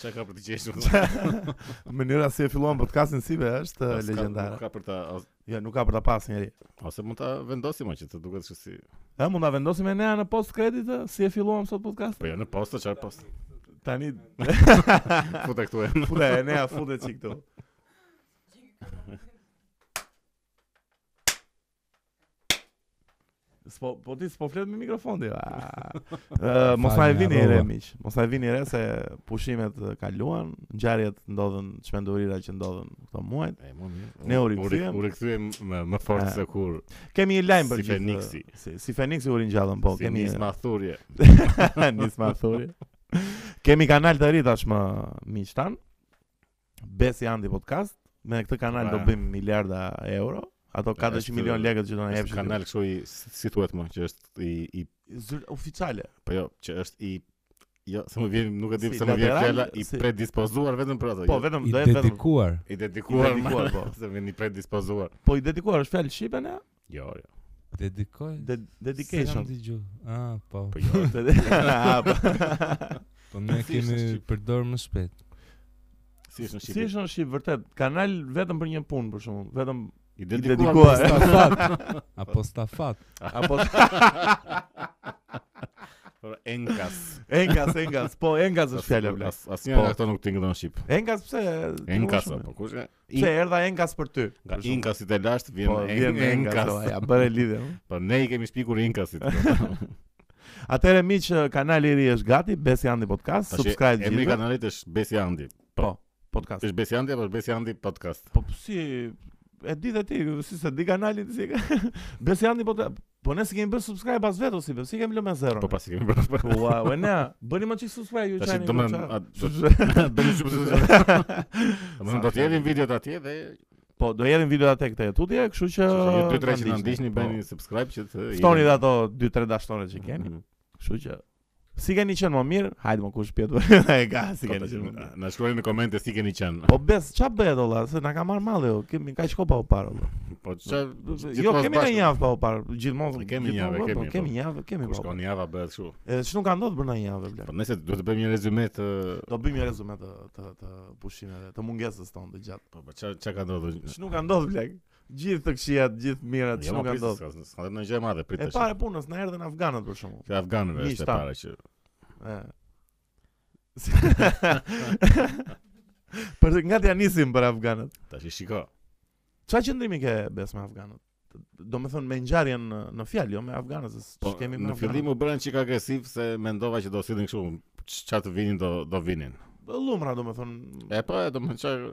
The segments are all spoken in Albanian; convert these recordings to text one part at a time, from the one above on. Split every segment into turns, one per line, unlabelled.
Çka ka për të gjetur?
Mënyra si e filluan podcastin sibe është
S'ka-
eh, legjendare.
nuk Ka për ta as-
Jo, nuk ka për ta pas njëri.
ose mund ta vendosim aq që të duket kështu si.
E mund ta vendosim e nea në post kredit eh, si e filluam sot podcast?
Po jo në posta çfarë posta?
Tani
Futa këtu. e.
fute e nea fute çik këtu. S'po, po ti s'po flet me mikrofon ti. ah. Ë, mos na e
Falë,
vini re
harrova.
miq. Mos na e vini re se pushimet eh, kaluan, ngjarjet ndodhen, çmendurira që ndodhen këto muaj.
E, më mirë.
Ne u
U
rikthyem.
ri- u rikthyem më më fort
E.
se kur.
Kemi një lajm për
Si
gjithë,
Feniksi.
Si, si Feniksi u ringjallën po,
si
kemi
kemi nisma thurje.
Nisma thuri. Kemi kanal të ri tashmë miq tan. Besi Andi Podcast. Me këtë kanal do
Ua.
bëjmë miliarda euro. Ato 400
Është-
milion lekë që do na
Është
japshin.
kanal kështu i si si thuhet më që është i i
Zyr- oficiale.
po jo, që është i jo, se më vjen nuk e di
Si,
pse më vjen
lateral,
fjala i
si-
predispozuar vetëm për ato.
Po
jo,
vetëm
I
do jetë vetëm.
dedikuar.
i dedikuar,
i dedikuar, po.
se vjen i predispozuar.
Po i dedikuar është fjalë shqipe ne?
Jo, jo.
Dedikoj.
De-
S'kam
dedication.
dëgju. Ah, po.
Po jo.
Ah, po.
Po ne
si është
kemi
shqip?
përdor më shpejt.
Si është në
Si
Shqipëri?
është në Shqip vërtet? Kanal vetëm për një punë për shkakun, vetëm
I
i
dedikuar.
dedikuar.
Apo stafat.
Apo
Por enkas.
Engas, Engas, po Engas është fjala bla.
As- Asnjëra
Po.
nga këto nuk tingëllon në shqip.
Engas pse?
Enkas apo kush e?
Pse erdha Engas për ty?
po. Nga
për shembull?
inkasit e lashtë vjen
Po, vjen me Engas, o,
enkas.
ja bëre lidhje. no?
Po ne i kemi shpikur inkasit.
Atëherë miq, kanali i ri është gati, Besi Andi Podcast,
Tash,
subscribe
Emri i
gjithë.
kanalit është Besi Andi.
Po, podcast.
Është Besi Andi apo është Besi Andi podcast?
Po si e di dhe ti, si se di kanalin si e ka. Besi Andi Podcast. Po ne si kemi bërë subscribe as vetë si, si kemi lënë me zero.
Po pasi kemi bërë.
Ua, u ne, bëni më çik subscribe ju
Tash,
çani.
do me- a- Bëni shumë se. Domethënë do të jemi videot atje dhe
Po, do jerin videot atë këtë tutje, kështu që
ju dy tre
na
që na ndiqni
po.
bëni subscribe që të Mhm.
Ftoni dhe ato 2-3 dashnore që keni. Kështu që si keni qenë më mirë, hajde më kush pjetu. e ka, si keni qenë më mirë.
Na shkruani në komente si keni qenë.
Po bes, qa bëhet olla, se na ka marrë malli jo, kemi kaq kopa u parë. olla.
Po çfarë?
Jo, kemi një javë pa u parë, gjithmonë.
E kemi
gjithmonë,
javë, e
po,
kemi,
kemi
po.
një javë, kemi
Kur
pa. u parë.
shkon java bëhet kështu.
Edhe ç'nuk ka ndodhur për në një javë bler.
Po nëse duhet të bëjmë një rezume të
Do bëjmë një rezume të të të pushimeve, të mungesës tonë të gjatë.
po po ç'a ç'a ka ndodhur?
Ç'nuk ka ndodhur bler? Gjithë të këqijat, gjithë mirat,
Jo,
ç'nuk ka
pritet,
ndodhur.
s'ka- S'ka ndodhur gjë e madhe
E
pritesh.
pare punës na erdhën afganët për shembull.
Kjo afganëve është e
Mishta.
para që
E. për nga t'ja nisim për afganët.
tash i shiko.
Qa qëndrimi ke bes me afganët? Do me thënë me ngjarjen në, në fjalë, jo me afganët, se
Po
po, kemi me
në fillim u bëren çik agresiv se mendova që do sillin kështu ç'a të vinin do do vinin.
Po, Lumra do me thënë...
E po, e, do më çaj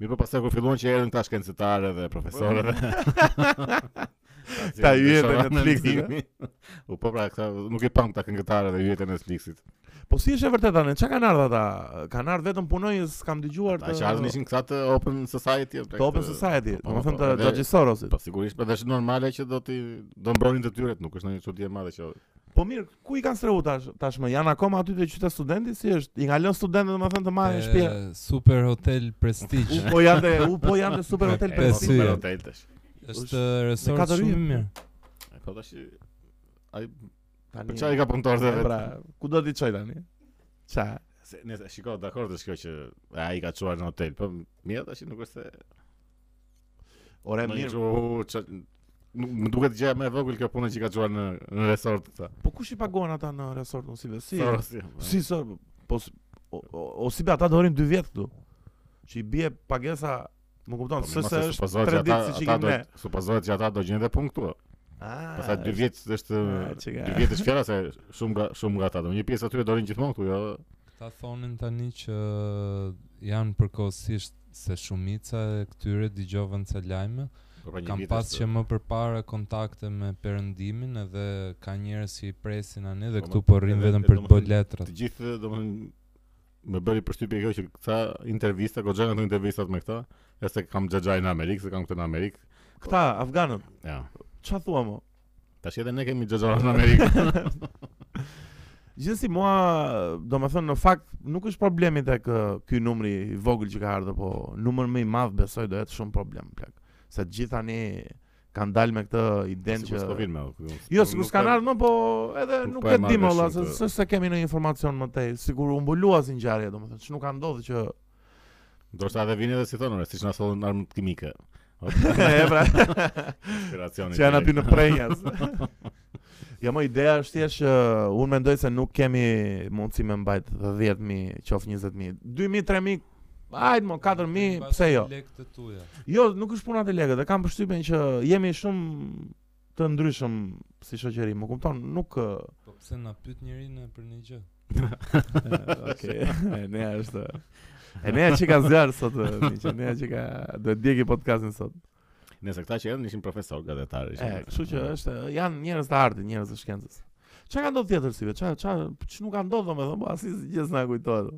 Mirë po pastaj kur filluan që erdhën këta shkencëtarë dhe profesorë dhe
Po. Ta hyjet e
Shoha
Netflixit,
mendimi. U po pra këta nuk i pam këta këngëtarë dhe hyjet e Netflixit.
Po si është e vërtet anë, qa kanë ardhë ata? Kanë ardhë vetëm punojës, kam dëgjuar
Ata që ardhën ishin këta të Open Society. apo
Po, të Open
këtë-
Society,
po,
do me
po,
thënë të
edhe-
Gjagji Sorosit.
Po sigurisht, edhe është normale që do ti do mbronin detyret, nuk është ndonjë çudi e madhe që
Po mirë, ku i kanë strehu tash, tashmë? Janë akoma aty të qytet studenti, si është? I ngalon studentët do me thënë të marrin
E,
shtëpi.
Super Hotel
U
Prestige.
po janë te, u po janë te super hotel
E,
Pe
po,
si.
Prestige.
super hotel tash.
Është resort
katër
shumë i
yje.
mirë.
E, Po tash ai
Tani-
për çfarë i ka punëtorë
E,
vetë?
Pra, ku do t'i çoj tani? Ça?
Se ne shiko, dakord është kjo që ai ka çuar në hotel, po mirë tash nuk është se
Ore
Në një
mirë.
gjuhë, qa- nuk më duket gjë më e vogël kjo puna që ka çuar në në resort këta.
Po kush i paguan ata në resort në Silve? Si?
Sorry, si.
Si sor? Po s- o, o, o si be ata do rin 2 vjet këtu. Që i bie pagesa, më kupton,
Po,
se
mirë,
se
mos e
është
supozohet
3
që
ditë
ata-
siç i
ata
kemi
do-
ne.
Supozohet që ata do gjejnë edhe punë këtu.
Ah.
Pastaj 2 vjet është
Ah, që ka-
2 vjet është fjala se shumë nga shumë nga ata. Do një pjesë aty do rinë gjithmonë këtu, jo.
Ta thonin tani që janë përkohësisht se shumica e këtyre dëgjovën ca lajme.
Po, pra, një
Kam
vit
pas
është-
që më përpara kontakte me perëndimin edhe ka njerëz që i presin ani dhe
Po,
këtu
më-
po rrin
edhe- edhe
vetëm për të bërë
domethënë-
letrat.
Të gjithë, domethënë më bëri përshtypje kjo që këta intervista, goxha nga këto intervistat me këta, ja se kam xhaxhaj në Amerikë, se kam këtë në Amerikë.
Këta afganët,
Ja.
ç'a thua mo?
Tash edhe ne kemi xhaxhaj në Amerikë.
Gjithsesi mua, domethënë në fakt nuk është problemi tek ë, ky numri i vogël që ka ardhur, po numër më i madh besoj do jetë shumë problem plak. Se të gjithë tani kanë dalë me këtë
Po
idenë
Sikur s'ko
që
vjen me. o,
Jo,
nuk
sikur
e-
s'kan ardhur, më, po edhe
nuk
nuk
po e
e
marrë
di më
shumë
valla, se
të-
se se kemi ndonjë informacion më tej. Sigur u mbulua si ngjarje, domethënë, ç'nuk ka ndodhur që
Ndoshta edhe vjen edhe si thonë, ore, siç na thonë armët kimike. O,
e pra,
Inspiracioni.
që janë aty
tjetër.
në prenjas. Ja më ideja është thjesht që unë mendoj se nuk kemi mundësi me mbajt 10000, qof 20000. 2000, 3000, hajt më 4000, pse jo?
Lekët e tuaja.
Jo, nuk është puna e legët, e kam përshtypjen që jemi shumë të ndryshëm si shoqëri, më kupton? Nuk ë,
Po pse na pyet njëri në për një gjë?
Okej, Eh, e nea është E nea që ka zjarë sot, e, miq, e nea që ka do të djegi podcastin sot.
Nëse këta që janë ishin profesor gazetar,
E, kështu që është, e, janë njerëz të artit, njerëz të shkencës. Çka ka ndodhur tjetër si vetë? Çka çka ç'nuk ka ndodhur domethënë, po asnjë gjë s'na kujtohet.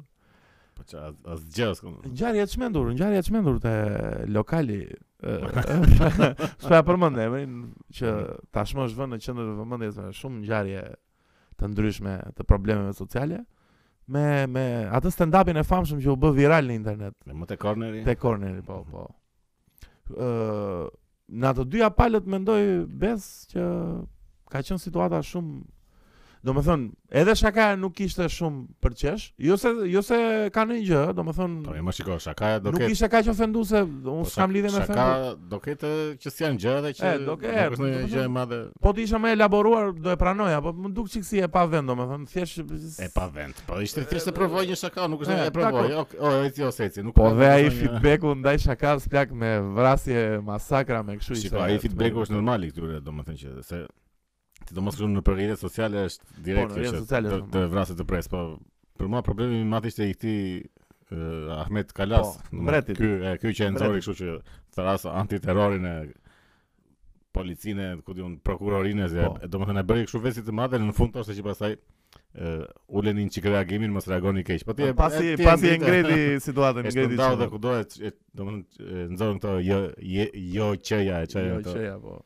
Po ç'a asgjë s'kon.
Ngjarja e çmendur, ngjarja e çmendur te lokali Shpa përmend emrin që tashmë është vënë në qendër të vëmendjes me shumë ngjarje të ndryshme të problemeve sociale me me atë stand-upin e famshëm që u bë viral në internet.
Dhe më te corneri.
Te corneri, po, po. Ë, në ato dyja palët mendoj bes që ka qenë situata shumë Do me thënë, edhe shaka nuk ishte shumë për qesh Jo se, jo se ka në gjë, do me
Po
thënë
më shiko, shaka do
Nuk
ketë. Po,
ishte ka që ofendu se Unë s'kam lidhje me
Shaka
ofendu
do ketë që s'janë gjë dhe që
E, do ketë,
nuk është ndonjë
do të
gjë e madhe
Po të isha më elaboruar, do e pranoja Po më duk qikësi e pa vend, do me thënë Thjesht
e pa vend. Po ishte thjesht të provoj një shaka, nuk është
E,
ndonjë e provoj.
dakor.
O, o, eci o seci, nuk.
Po
ka
dhe ai
ndonjë-
feedbacku ndaj shakas plak me vrasje, masakra me kështu
Shiko, po, ai feedbacku është normal i këtyre, domethënë që se ti do mos shumë në për rrjetet sociale është direkt
Po, në rrjetet
që
sociale
të,
është
të
normal.
vraset të pres, po për mua problemi i madh ishte i këtij eh, Ahmet Kalas,
Po,
domethënë,
mbretit.
ky e, ky që e nxori
Mbretit.
kështu që thras antiterrorin e policinë, ku diun prokurorinë, se
Po.
e- domethënë e bëri kështu vesi të madhe në fund thoshte që pastaj ë ulenin çik reagimin mos reagoni keq. Po ti e-
Pasi
ti
pasi e
mbrite.
ngreti situatën,
E
ngreti.
shkëndau dhe
qëndrën.
kudo e, e domethënë e nxorën këto jo jo- jo çeja e çaja
Jo,
këto.
qeja, po.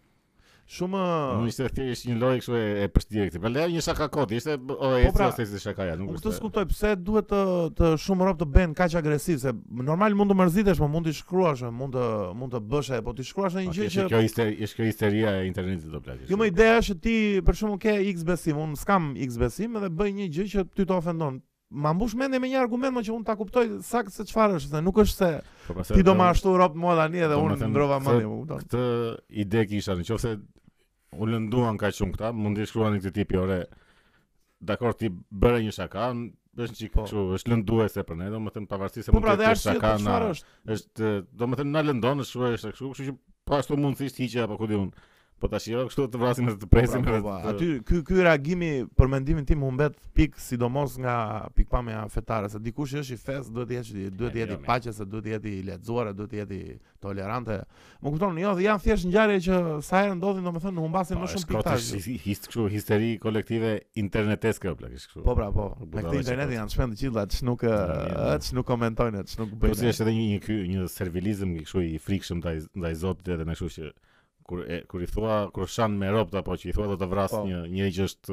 Shumë
Unë ishte thjesht një lojë kështu e, e përshtirë këtë. Për lejë një shaka koti, ishte b- o e
Po
pra,
pra,
se ishte shaka ja, nuk
Unë
është.
këtë skuptoj pse duhet të të shumë rob të bëjnë kaq agresiv se normal mund të mërzitesh, po mund të shkruash, mund të mund të bësh, e, po ti shkruash në një gjë që
Kjo ishte ishte kjo histeria e internetit do plagë.
Jo më ideja është që ti për shembull ke X besim, unë s'kam X besim edhe bëj një gjë që ty të ofendon. Ma mbush mendje me një argument më që unë ta kuptoj saktë se çfarë është, se nuk është se
Po
ti do më ashtu rob mua tani edhe
do me
unë
thënë,
ndrova
se-
mendje, më kupton.
Këtë ide kisha në qoftë se u lënduan kaq shumë këta, mund të shkruani këtë tipi ore. Dakor ti bëre një shaka, n- është një
Po.
kështu, është lënduese për ne, domethënë pavarësisht se
Po
mund
pra
të
dhe
jetë
arsye
shaka
të
na.
çfarë është.
Është domethënë na lëndon është kështu, është kështu, kështu që po ashtu mund të ishte hiqja apo ku diun. Po tash jo, kështu të vrasim edhe të presim.
Po,
edhe
po,
të-
Aty ky ky reagimi për mendimin tim humbet pik sidomos nga pikpamja fetare se dikush që është i fes duhet të jetë duhet të
E, jo,
jetë
mirë,
i paqes, se duhet të jetë i lexuar, duhet të jetë i tolerante. Më kupton, jo, dhe janë thjesht ngjarje që sa herë ndodhin domethënë humbasin
Po,
më
është
shumë
kot
piktarë.
është hist kështu histeri kolektive interneteske o plak është kështu.
Po pra, po. Me
budalla
këtë
që
internetin
po.
janë shpend të gjitha, ç'nuk
Ja, ja.
ç'nuk komentojnë, ç'nuk
Po si
bëjnë.
është edhe një një ky një servilizëm kështu i frikshëm ndaj ndaj Zotit edhe ne kështu që kur e, kur i thua kur shan me ropt apo që i thua do të vras
Po.
një njëri që është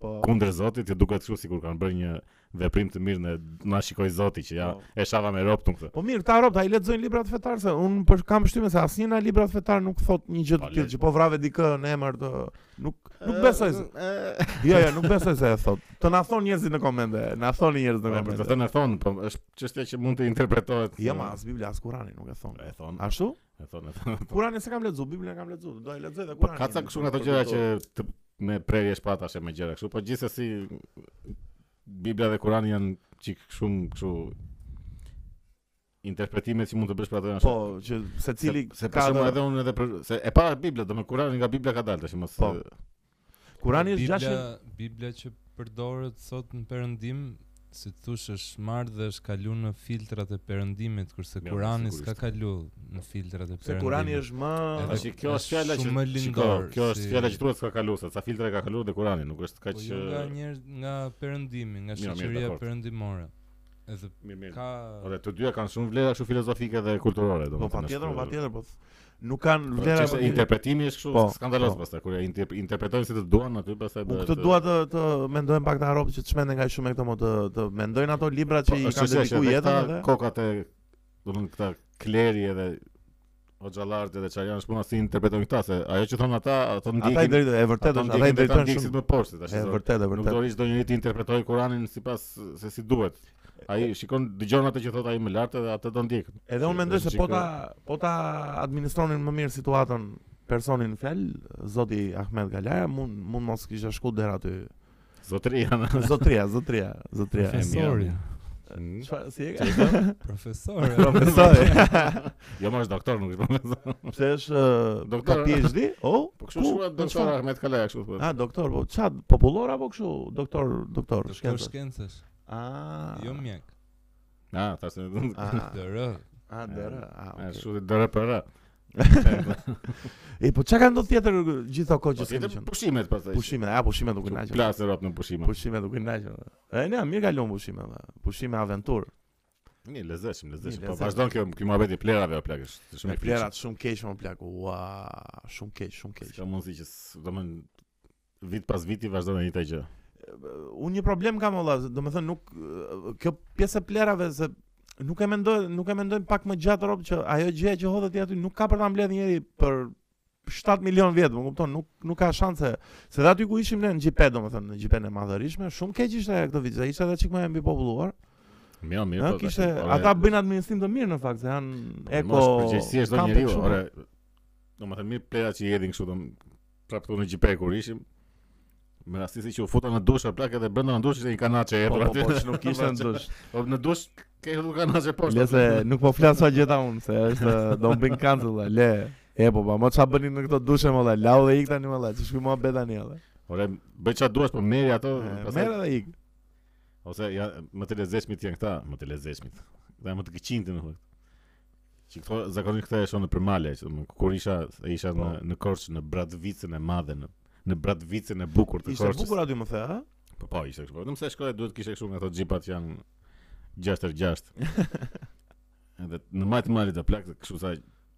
Po.
kundër Zotit, ju duket kështu sikur kanë bërë një veprim të mirë në na shikoi Zoti që ja
Po.
e shava me ropt unë këtë.
Po mirë, këta rob, ai lexojnë librat fetar se un për kam përshtymin se asnjë nga librat fetar nuk thot një gjë
Po,
të
le-
tillë që po vrave dikë në emër të nuk nuk besoj se Jo, jo, nuk besoj se e thot. Të na thon njerëzit në komente, na thoni njerëzit
Po
në
për të
komente.
thënë e thon, po është çështje që mund të interpretohet.
Jo, ma as Bibla as Kurani nuk e thon.
e thon,
Ashtu?
e thon, e thon.
Kurani s'e kam lexuar, Biblën e kam lexuar. Do e lexoj dhe
Po
Kurani. po.
ka ca kështu nga ato gjëra që të, me prerje shpatash e me gjëra kështu, po gjithsesi Bibla dhe Kurani janë çik shumë kështu interpretimet që mund të bësh për ato janë
po
shumë.
që secili
se, se
ka
për shembull
dhe-
edhe unë edhe për se e para Bibla, do me Kurani nga Bibla ka dalë tash mos.
Po. Kurani është
Bibla-
600
Bibla që përdoret sot në perëndim, si të thush është marrë dhe është kalu në filtrat e perëndimit, kurse
Ja,
Kurani s'ka
sigurisht.
kalu në filtrat
se
e perëndimit.
Kurani është më
Edhe
Tash kjo është fjala
Shumë
që
më
shiko,
lindor,
kjo është
si-
fjala që thuhet s'ka kalu, se ca filtra ka kalu dhe Kurani, nuk është
po
kaq
jo nga njerëz nga perëndimi, nga
Mirë, mirë,
shoqëria
dakord.
perëndimore. Edhe
Mirë, mirë.
ka
Ore, të dyja kanë shumë vlera kështu filozofike dhe kulturore,
Po
domethënë.
patjetër,
është-
po patjetër, po nuk kanë
Po,
vlera.
çështja
po,
e interpretimi është kështu
Po,
skandalos
po.
pastaj kur e inter- interpretojnë si të duan aty pastaj
Po
bëhet,
këtë
e,
dua të të mendojmë pak të harop që çmendën nga shumë e këto mo të të mendojnë ato libra
Po,
që
është
i kanë
qështja që
dedikuar
edhe
jetën
këta
edhe.
kokat e domthon këta kleri edhe Oxhallart edhe çfarë janë shpuna si interpretojnë këta se ajo që thon ata ato ndjekin
Ata i drejtojnë, e
ato
vërtet është, ata
ndjekin
i
dhe
drejtojnë
ndjekësit më
shumë.
poshtë tash.
E
zor.
vërtet, e
Nuk do
vërtet.
rish do njëri të interpretoj Kur'anin sipas se si duhet. Ai shikon dëgjon atë që thot ai më lart edhe atë do ndjekin.
Edhe unë mendoj se
Është
po
gjiko-
ta po ta administronin më mirë situatën personin në fjalë, zoti Ahmet Galaja mund mund mos kisha shku deri aty.
Zotëri janë.
Zotria, zotria, zotria.
profesori.
Mm.
Çfarë si e ka?
Çfarë?
Profesori.
Profesori.
Jo, më është doktor, nuk është profesor.
Pse është ë, ka
Doktor.
PhD? Oh,
Po kështu shkruan doktor Ahmet Kalaja kështu po.
Ah, doktor, po çad popullor apo kështu? Doktor, doktor,
Doktor
shkencë.
shkencash,
Ah.
jo mjek.
Ah, tash. Ah,
Ah,
DR.
ah, dera. Ah, okay.
kështu të DRPR.
E po çka ka ndodhur tjetër gjithë ato kohë
Po
që s'kemi
tjetër
qenë?
pushimet pastaj.
Pushime, a pushime duke
Kështu
ndajë.
Plasë rrot në pushime.
Pushime duke ndajë. E ne mirë kalon pushime. valla. Pushime aventur.
Mirë, lezetshëm, lezetshëm.
Mirë,
Po
lezetshëm.
vazhdon kjo kjo muhabet e plerave o plagësh. Të shumë
Me
e
plerat shumë keq më plak. Ua, shumë keq, shumë
frikshme.
keq.
Ka mundësi që s- domethën vit pas viti vazhdon e njëjta gjë.
Unë një problem kam valla, domethënë nuk e, kjo pjesë e plerave se nuk e mendoj, nuk e mendoj pak më gjatë rob që ajo gjë që hodhet ti aty nuk ka për ta mbledhë njëri për 7 milion vjet, më kupton, nuk nuk ka shanse. Se dhe aty ku ishim ne në Gjipe, domethënë në Gjipen e madhërishme, shumë keq ishte ajo këtë vit, se ishte edhe çik më e mbipopulluar.
Mirë, mirë.
Ëh,
po,
kishte
tash, ore,
ata bëjnë administrim të mirë në fakt, se janë
mos
eko.
përgjegjësisht do
kampe
njeriu,
shumë.
ore. Domethën mirë plerat që i hedhin kështu dom prapë këtu në Gjipe kur ishim. Me rastisi që u futa në dush, plak edhe brenda në dush ishte një kanaçe e
Po,
hedhur
po,
aty.
po, që nuk ishte në dush.
Po në dush ke hedhur kanaçe poshtë.
Le se nuk po flas sa gjeta unë, se është do mbin cancel, la, le. E po, ba, më ç'a bëni në këto dushe më la, lau dhe ik tani më la, që shkuj mua bet tani la.
Ore, bëj çfarë duash, po merri ato, pastaj
Merë dhe ik.
ose ja më të lezetshmit janë këta, më të lezetshmit. Këta janë më të këqinjtë në fakt. Që këto zakonisht këta e shoh në përmale, që domethënë kur isha e isha në
Po.
në Korçë, në Bratvicën e madhe, në në Bratvicën e bukur të
Ishte
Korçës.
bukur aty më the, ha?
Po po, ishte kështu. Vetëm se shkoja duhet kishe kështu nga ato xhipat që janë 6x6. Edhe në majtë malit të plak, kështu sa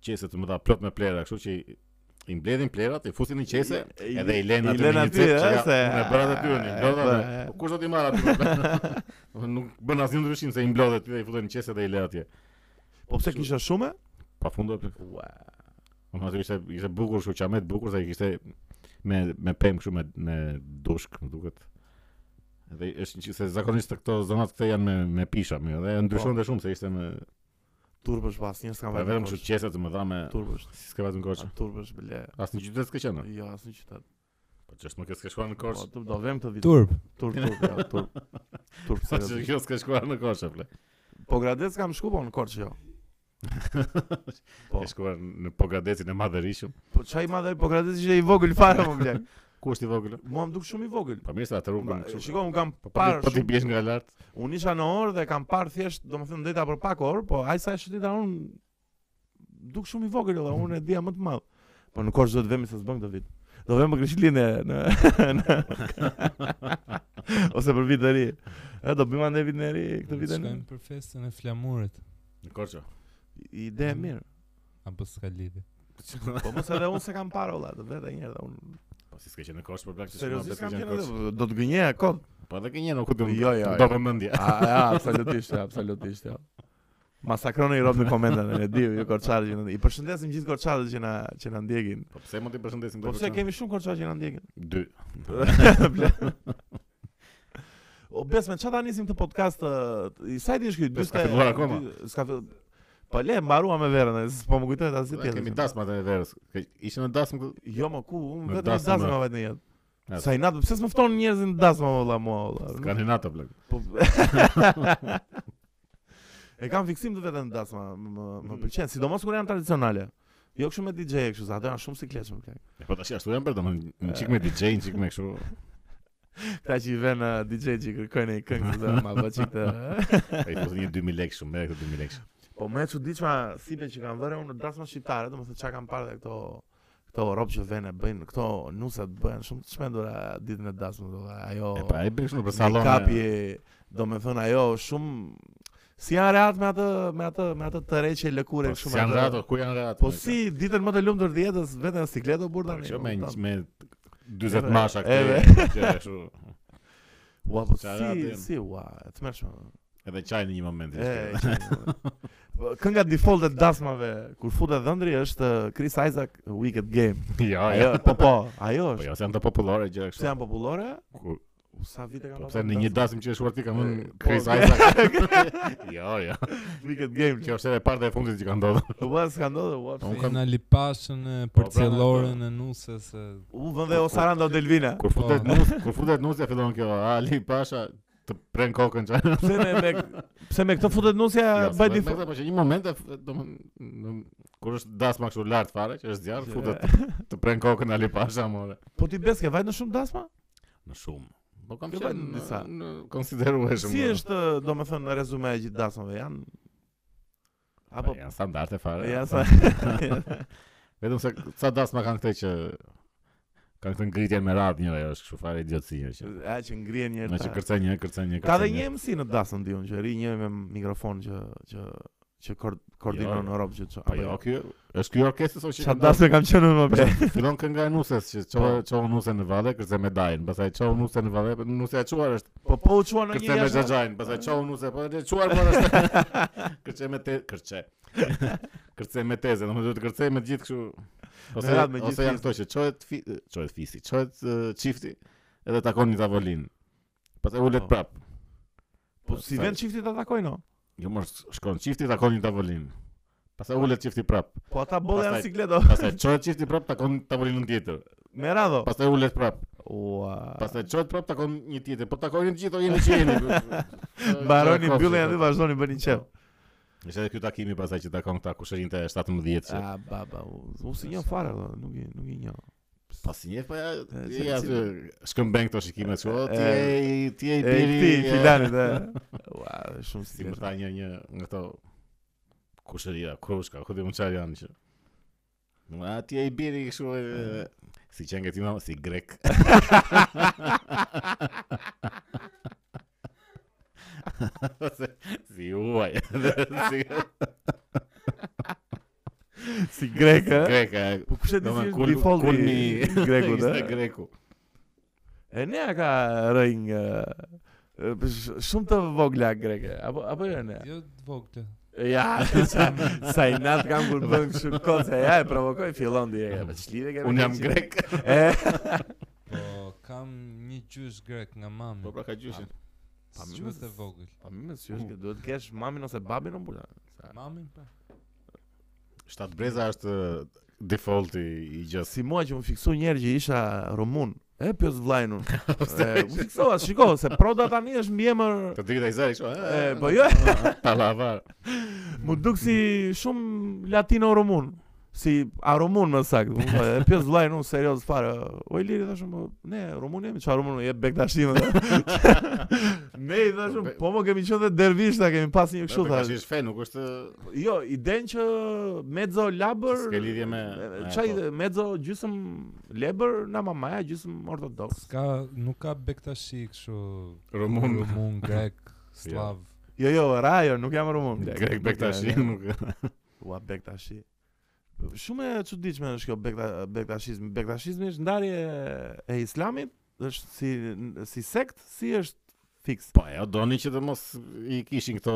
qese të mëdha plot me plera, kështu që i- i mbledhin plerat, i fusin në qese,
I-
edhe i lënë
i
aty
lënë
në
aty,
cep,
ë,
që ja,
se-
unë e bëra aty unë, i mblodha
Po,
aty.
e.
Po, Kush do t'i marr aty? Nuk bën asnjë ndryshim se i mblodhet aty, i futen në qese dhe i lë atje.
Po pse kisha shume?
Pa fundo, plak.
Ua.
Unë aty Po ishte ishte bukur kështu qamet bukur se kishte me me pemë kështu me me dushk, më duket. Edhe është një- se zakonisht të këto zonat këto janë me me pisha, më edhe ndryshon dhe shumë se ishte me
Turpësh pas, njerëz
pra,
kanë Po. vajtë.
vetëm kështu qese të mëdha me
turpësh.
si s'ka vetëm
a,
Korçë.
Turpësh bile.
Asnjë qytet s'ka qenë.
Jo, asnjë qytet.
Po ç'është më ke s'ka shkuar në Korçë.
Po, tu- do vëm këtë vit.
Turp.
Turp, turp, ja, turp. Turp
Po
se.
jo s'ka shkuar në Korçë, ple.
Po Gradec kam shku po në Korçë jo. Po.
Ke shkuar në Pogadecin e Madhërishëm.
Po çaj madhe po Gradec ishte i vogël fare më blek.
Ku është i vogël?
Mua më duk shumë i vogël.
Po mirë se atë rrugën
Ma-
kështu.
Shiko, un kam
Po pa
parë
po ti
shumë-
biesh nga lart.
Unë isha në orë dhe kam parë thjesht, domethënë ndeta për pak orë, po ai sa e shëtita unë duk shumë i vogël dhe unë e dia më të madh. Po në Korçë do të vemi se s'bën këtë vit. Do vemi për Krishtlin e në, në ose për vit të ri. E do bëjmë ande vitin e ri këtë vit e ri.
Shkojmë për festën e flamurit
Në Korçë. Po,
Ide e mirë.
apo s'ka lidhje.
Po mos edhe unë se kam parë valla, të vetë një herë dhe unë.
Po si s'ka qenë në Korçë për plak.
Seriozisht kam qenë edhe do të gënjeja kot.
Po edhe gënjen, nuk u do.
Jo, jo,
Do
jo.
vëmendje.
A, ja, absolutisht, ja, absolutisht, ja. Masakroni i rob në komentet, e di ju korçarët që na i përshëndesim gjithë korçarët që na që na ndjekin.
Po pse mund të përshëndesim
Po pse kemi shumë korçarë që na ndjekin.
dy.
o besme, çfarë ta nisim këtë podcast? ë, t- I sa i dish ky
Bes, ka filluar akoma?
dy- S'ka fill- Po le, mbarua me verën, e, s'po më kujtohet as
Ne
tjetër.
kemi dasmat e verës. Ke- Ishte në dasmë këtu.
Jo, më ku, unë
Në
vetëm
dasmë,
dasmë
bra.
me vetë në jetë.
Ja.
Sa i natë, pse s'më fton njerëzin në dasmë valla mua valla.
Kanë natë plak.
Po. e kam fiksim të veten dasma, më më pëlqen, sidomos kur janë tradicionale. Jo kështu me DJ kështu, sa ato janë shumë sikletshëm kaq.
E, Po tash ashtu janë për domethënë një çik me
Eh.
DJ, një çik me kështu.
Kta që i vënë DJ që kërkojnë një këngë të ma bë çik të.
Ai thotë një 2000 lekë shumë, merr këtë 2000 lekë. shumë.
Po më e çuditshme sipe që kanë vënë unë në dasma shqiptare, domethënë çka kanë parë dhe këto këto rob që vënë bëjnë, këto nusat bëhen shumë të çmendura ditën e dasmës, do ajo.
E pa ai bën kështu për eh.
Make-upi,
sallon.
do me thënë ajo shumë Si janë rehat me atë me atë me atë të re që e lëkure
Po,
kështu
si
me
janë
atë-
rato, ku janë rato?
Po si ditën më të lumtur të jetës vetëm sikleto burr tani.
Që Po, jo me,
kupton?
me 40
Edhe-
masha
edhe.
këtë, gjë kështu.
Ua, po
Çfarë
si,
janë?
si, ua, e të mërshme.
Edhe çaj në një moment.
E,
ishte.
që- Po, kënga default e dasmave, kur futet dhëndri, është eh, Chris Isaac Wicked Game.
Jo, jo.
Ajo, po po, ajo
Po
është.
jo, se janë të popullore gjë
Pse
kështu.
janë popullore?
Ku-
U, sa vite kanë
Po
pasur
pse në një
dasma?
dasim që e shuar ti ka
E,
mund
po,
Chris
po.
Isaac. Jo, jo.
Wicked Game.
Kjo është edhe parta e fundit që ka ndodhur.
Ua, s'ka ndodhur, ua.
Po,
pse-
unë kam- Po,
në lipashën e përcjelloren e nusës e
U vën dhe Osarando Delvina.
Kur futet
Po.
nus, kur futet nus e fillon kjo Ali Pasha të pren kokën çaj.
Pse me me pse me këtë futet nusja
Jo, me-
bëj
me
default.
këta, Po që një moment e f- domthon në- kur është dasma kështu lart fare, që është zjarr, futet të pren kokën Ali Pasha more.
Po ti bes ke vajt në shumë dasma?
Në shumë. Po kam
Ke
qenë
vënë
në-
disa.
në konsiderueshëm.
Si
domethënë.
është, domethënë, në rezume e gjithë dasmave janë apo
Po janë standarde fare.
ja sa
Vetëm se ca dasma kanë këtë që kanë këtë ngritjen me radhë njëra, jo, është kështu fare idiotësia që.
a që ngrihen një
Në që
herë. ta-
kërcen një, kërcen një, kërcen.
Ka dhe një MC në dasëm diun që ri një me mikrofon që që që kor- koordinon
Jo.
në Europë që që
Po jo, ky është ky orkestër sot që
Qa
ka
dasme kam qenë unë jo? më pe
Fillon kënga e Nusës që çova
Po.
çova Nusën në valle, kërce me dajin, pastaj çova Nusën në valle, Nusja e çuar është,
Po po u qua në një
kërce me
jashtë
xhaxhain, pastaj çova Nusë, po e çuar po është. Kërce me te, kërce. Kërce me teze, domethënë duhet të kërcej me gjithë kështu.
Me
Ose
radhë me gjithë
ose janë këto që çohet fi- çohet fisi, çohet eh, çifti edhe takon një tavolinë. Pastaj ulet
Po.
prap.
Po si vend çifti ta takojnë o?
Jo mos shkon çifti takon një tavolinë. Pastaj ulet çifti prap.
Po ata bolla janë
Pastaj-
sikleto
Pastaj çohet çifti prap takon tavolinën tjetër.
Me radho
Pastaj ulet prap.
Ua
Pastaj çohet prap takon një tjetër, po takojnë të gjithë, o jeni që jeni.
Baroni mbyllën aty vazhdoni bëni çep
Ishte edhe ky takimi pastaj që takon këta kushërinjtë e 17 që.
A baba Ah, u- U si një fare valla, nuk i nuk i njoh
Po si një po ja,
E,
je
se-
ja
si-
aty shkëmbën këto shikime kështu, o, ti
E,
je i- ti je i
E
biri.
këti
e-
filanit e Ua shumë
Si më
sikleto
tha një një nga këto kushëria, krushka, ku di më çfarë janë që. Më a ti je i biri kështu e- si qenë ti mama, si grek. Ose, si uaj. si
Si grek e
grek. e,
Po kush e di
Do
si
me
është
kul,
defaulti
kulmi eh?
i grekut,
ishte
e?
Greku.
E ne a ka rëjnë nga e, për sh- shumë të vogla greke, apo apo jo ne.
jo të vogla.
Ja, sa, sa i nat kam kur bën kështu koce, ja e provokoj fillon direkt. Eh? Po çlidhe ke. me
Unë jam
keqin.
grek.
E,
Po kam një gjysh grek nga mami.
Po pra ka gjyshin.
pa
Si
më
quhet e vogël?
po më si është që duhet të kesh mamin ose babin on pula.
Mamin pra.
Shtat breza është e, defaulti i gjës.
Si mua që më fiksu një herë që isha rumun. E pyes vllajën unë. E, U fiksova, shiko, se proda tani është mbiemër
Të drita i zari kështu.
E, po jo.
Palavar.
Mu duk si shumë latino rumun. Si a rumun më saktë. Unë tha, e pjes vllai unë serioz fare. O i liri thashëm, "Po, ne rumun jemi, çfarë rumun jep bek tashim. ne i thashëm, po më kemi qenë dhe dervishta, kemi pas një kështu
Tash
thash.
është fe, nuk është
Jo, iden që mezzo labër.
S'ke lidhje me-
e,
me
Çaj mezzo gjysmë lebër na mamaja gjysmë ortodoks.
S'ka nuk ka bektashi kështu
rumun.
rumun grek, slav.
Jo, jo, rajo, nuk jam rumun.
Grek bektashi nuk.
Ua Bektashi. Shumë e çuditshme është kjo bekta, bektashizmi. Bektashizmi është ndarje e Islamit, është si si sekt, si është fiks.
Po ajo doni që të mos i kishin këto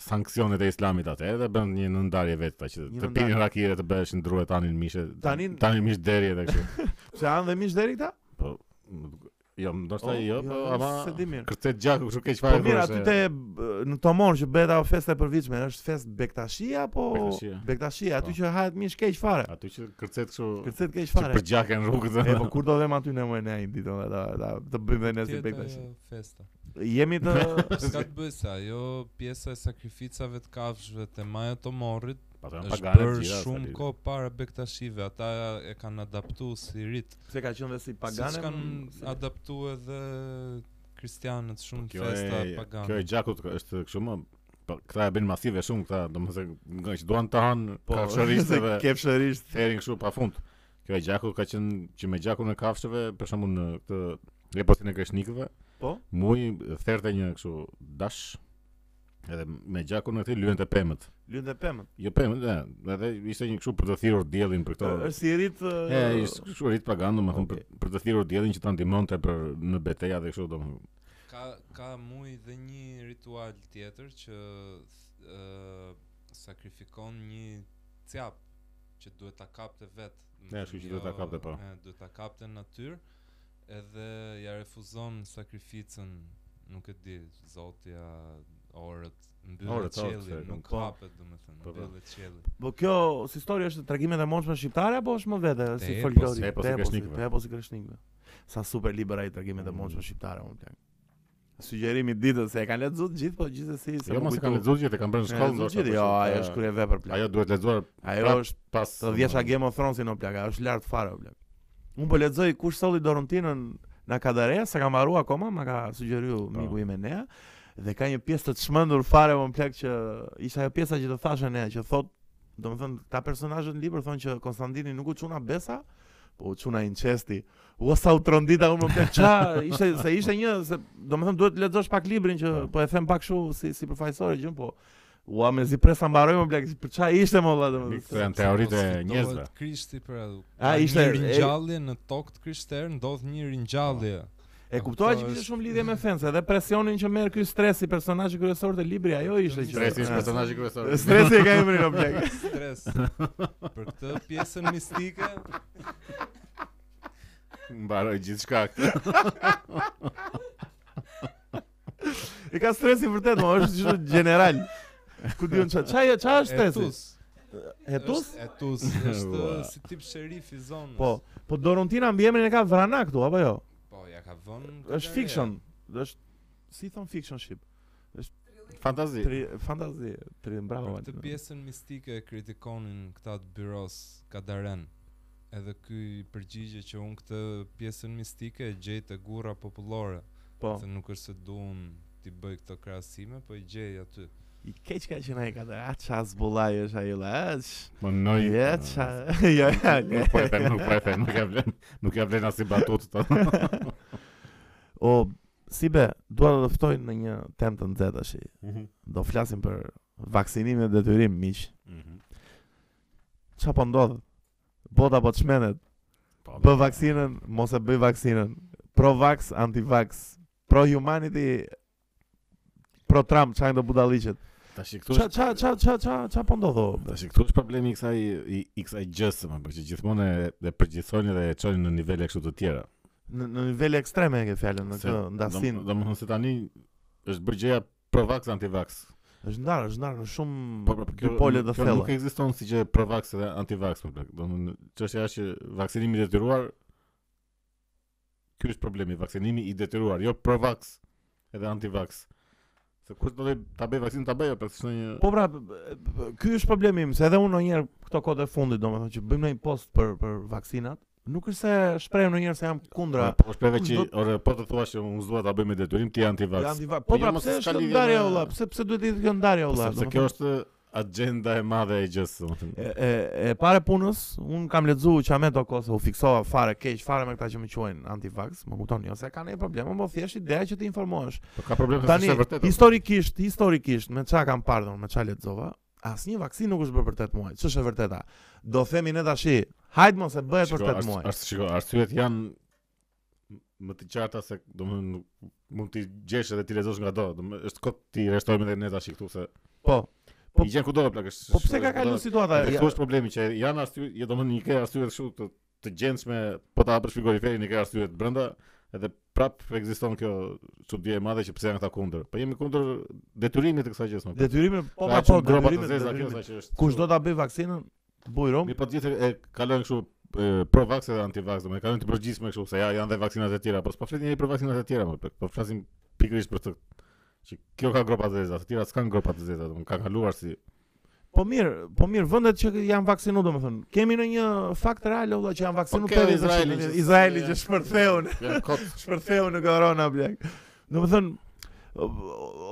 sanksionet e islamit atë edhe bën një ndarje vetë ta që
Një
të
ndarje.
pinin rakire të bëheshin druhet tanin mishe
Tanin-
tanin mish deri edhe kështu
Pse anë dhe mish deri këta?
po nuk- jo ndoshta
O,
jo po ama
se di mirë.
kërcet gjaku kështu keq fare
Po mirë, aty
thua se-
te b- në Tomon që bëhet ajo festa e përvitshme, është fest bektashia apo
Bektashia.
bektashia, aty
Po.
që hahet mish keq fare.
aty që kërcet kështu
Kërcet keq
që
fare.
për gjakën rrugët
E po kur do them aty në më ne një ditë ona, ta ta të bëjmë dhe ne si
Tjetë
bektashi.
ajo festa.
Jemi të
S'ka të bëj se ajo pjesa e sakrificave të kafshëve të maja të morrit
Ato janë
është
Pra, pagane të
bërë
gjitha,
shumë
s'ka
kohë para bektashive, ata e kanë adaptu si rit.
pse ka qenë dhe si
Siç
pagane.
kanë
si-
adaptu edhe kristianët shumë
Po, Kjo
festa
e
pagane.
kjo e gjakut është kështu më po këta e bën masive shumë këta domethënë nga që duan të han
Po,
kafshëristëve
kefshërisht.
therin kështu pafund. Kjo e gjakut ka qenë që me gjakun e kafshëve për shembull në këtë leposin e kreshnikëve
Po.
muj therte një kështu dash Edhe me gjakun aty lyen te pemët.
Lyn dhe pemën.
Jo pemët, e, edhe ishte një kështu për të thirrur diellin për këto.
Ë, Është i rrit
E, ishte kështu rit pagandë, më thon për, për të thirrur diellin që ta ndihmonte për në betejë dhe kështu domun.
Ka ka muj dhe një ritual tjetër që th- ë sakrifikon një cjap që duhet ta kapte vet. do të
Ja,
thënë,
kështu që duhet ta kapte, po.
e, Duhet ta kapte në natyrë edhe ja refuzon sakrificën, nuk e di, Zoti ja orët
Orët,
mbyllet
orët,
qelli,
se,
nuk
po.
hapet domethënë,
Po, po.
mbyllet qelli.
Po kjo si histori është tragimet e mundshme shqiptare apo është më vete po, si
Te
folklori?
epos- epos i kreshnikëve.
Te epos i po, kreshnikëve. Sa super libër ai tragimet e mundshme shqiptare, unë plak. Sugjerimi i ditës se e kanë lexuar të gjithë, po gjithsesi se
Jo,
më
mos e kanë
kujtu.
lexuar gjithë, e kanë bërë në
E
shkollë.
lexuar
ndoshta,
gjithë,
po,
Jo,
që-
ajo është kur e vepër plak.
Ajo pra- duhet lexuar
Ajo
prap-
është
pas
të dhjesha Game of Thrones-in o plak, ajo është lart fare o plak. Unë po lexoj kush solli Dorontinën na ka dhënë, s'e ka mbaruar akoma, ma ka sugjeru miku im Enea dhe ka një pjesë të çmendur fare më plak që ishte ajo pjesa që të thashë Enea që thot, domethënë këta personazhe në libër thonë që Konstantini nuk u çuna besa, po u çuna incesti. Ua sa u trondita unë më plak ça, ishte se ishte një se domethënë duhet të lexosh pak librin që
Po.
po e them pak kështu si si përfaqësore gjën, po Ua me zi presa mbaroj më plak, për ça ishte më valla domethënë.
Këto janë teoritë e
Mos
njerëzve.
fitohet Krishti për atë.
A, ishte-
një ringjallje në tokë të krishterë, ndodh një ringjallje.
Po.
E kuptova
Kuptoj,
që kishte
është-
shumë lidhje me fensa dhe presionin që merr ky stres i personazhi kryesor të librit, ajo ishte që
Stresi është
Ah.
personazhi kryesor.
Stresi e ka emrin o plak.
Stres. Për këtë pjesën mistike,
Mbaroj gjithçka.
E ka stresin vërtet, mo, është gjithë general. Ku diun ç'a ç'a ç'a është stresi?
etus.
Hetus?
Është Etus, është
Ua.
si tip sherif i zonës.
Po, po Dorontina mbi emrin e ka Vrana këtu apo jo?
Po, ja ka vënë.
Është
këtare.
fiction. Është si thon fiction ship.
Fantazi.
Tri fantazi, tri bravo.
Për këtë
Altin.
pjesën mistike e kritikonin këta të byros Kadaren. Edhe ky i përgjigje që unë këtë pjesën mistike e gjej te gurra popullore,
Po,
se nuk është se duam ti bëj këto krahasime, po i gjej aty.
i keq ka qenë ai ka thënë, "A ç'a zbullaj është ajo la?" aq."
Po noi.
Ja, ç'a. Ja, Jo, ja.
Nuk po e them, nuk po e them, nuk e vlen. Nuk e vlen as i batutët.
O, si be, dua të dëftoj në një temë të nxehtë tash. Do flasim për vaksinimin e detyrim miq.
Mhm.
Çfarë po ndodh? Bota po çmendet.
Po,
Bë vaksinën, mos e bëj vaksinën. Pro vax, anti vax. Pro humanity, pro Trump, çan do budalliqet.
Tash këtu
Ça ça ça ça ça ça po ndodh? o?
Tash këtu është problemi i kësaj i, i kësaj gjës, më bë, që gjithmonë e, e përgjithsojnë dhe e çojnë në nivele kështu të tjera.
Në në nivele ekstreme e ke fjalën në
Se-
këtë ndasin.
Dom- Domethënë se tani është bërë gjëja provax antivax.
Është ndarë, është ndarë në shumë
Po po
dy pole të
kjo nuk
thella.
ekziston si gjë provax dhe antivax, më bë. Domethënë çështja është që vaksinimi i detyruar ky është problemi, vaksinimi i detyruar, jo provax edhe antivax. Se kur do të ta bëj vaksin ta bëj, po s'është një
Po pra, b- b- ky është problemi im, se edhe unë ndonjëherë këto kohë të fundit, domethënë që bëjmë ndonjë post për për vaksinat, nuk është se shprehem ndonjëherë se jam kundra.
Po shpreve që ore po të thuash që unë s'dua ta bëj me detyrim ti je antivax.
Jam diva.
Po,
Po pra,
jo, mos s'ka
pse është kjo
lidhje
ndarja
me-
olla? Pse pse duhet të jetë kjo ndarja olla?
Sepse kjo është agjenda e madhe e gjës, domethënë.
e, e, e pare punës, un kam lexuar Çamet oko se u fiksova fare keq fare me këta që më quajnë antivax, më kupton, jo se ka ndonjë problem, po thjesht ideja që të informohesh.
Po ka problem se
Tani
është e vërtetë.
historikisht, historikisht me çka kam parë domun, me çka lexova, asnjë vaksinë nuk është bërë për 8 muaj. Ç'është e vërteta? Do themi ne tash, hajt mos e bëhet për 8 muaj.
Ars, shiko, arsyet janë më të qarta se domethënë nuk- mund ti gjesh edhe ti lexosh nga do, domethënë është kot ti rreshtojmë edhe ne tash këtu se
Po, Po-
i gjen kudo plak është.
po pse ka kalu situata?
Dhe Kjo është problemi që janë arsye, jo domethënë një ke arsye kështu të të gjendshme, po ta hapësh frigoriferin një ke arsye të brenda, edhe prap ekziston kjo çudi e madhe që pse janë këta kundër. Po jemi kundër detyrimit të kësaj gjë. më plak.
Detyrimin po
Pra,
pra po
që gropa të
detyrimin,
zeza kjo
detyrimin.
sa që është.
Kush do ta bëj vaksinën? Buj rom.
Mi po të gjithë e kalojnë kështu e, pro-vax edhe anti-vax, domethënë kalojnë të përgjithshme kështu se ja janë dhe vaksinat e tjera, po s'po flitim jeri për vaksinat e tjera, më plak. Po flasim pikërisht për të që kjo ka gropa të zeza, të tjera s'kan gropa të zeza, domethënë ka kaluar si
Po mirë, po mirë vendet që janë vaksinuar domethënë. Kemi në një fakt real olla që janë
Po
vaksinuar
ke
për-
Izraeli që-
Izraeli që shpërtheun,
Janë kot.
shpërtheun në korona blek. Domethënë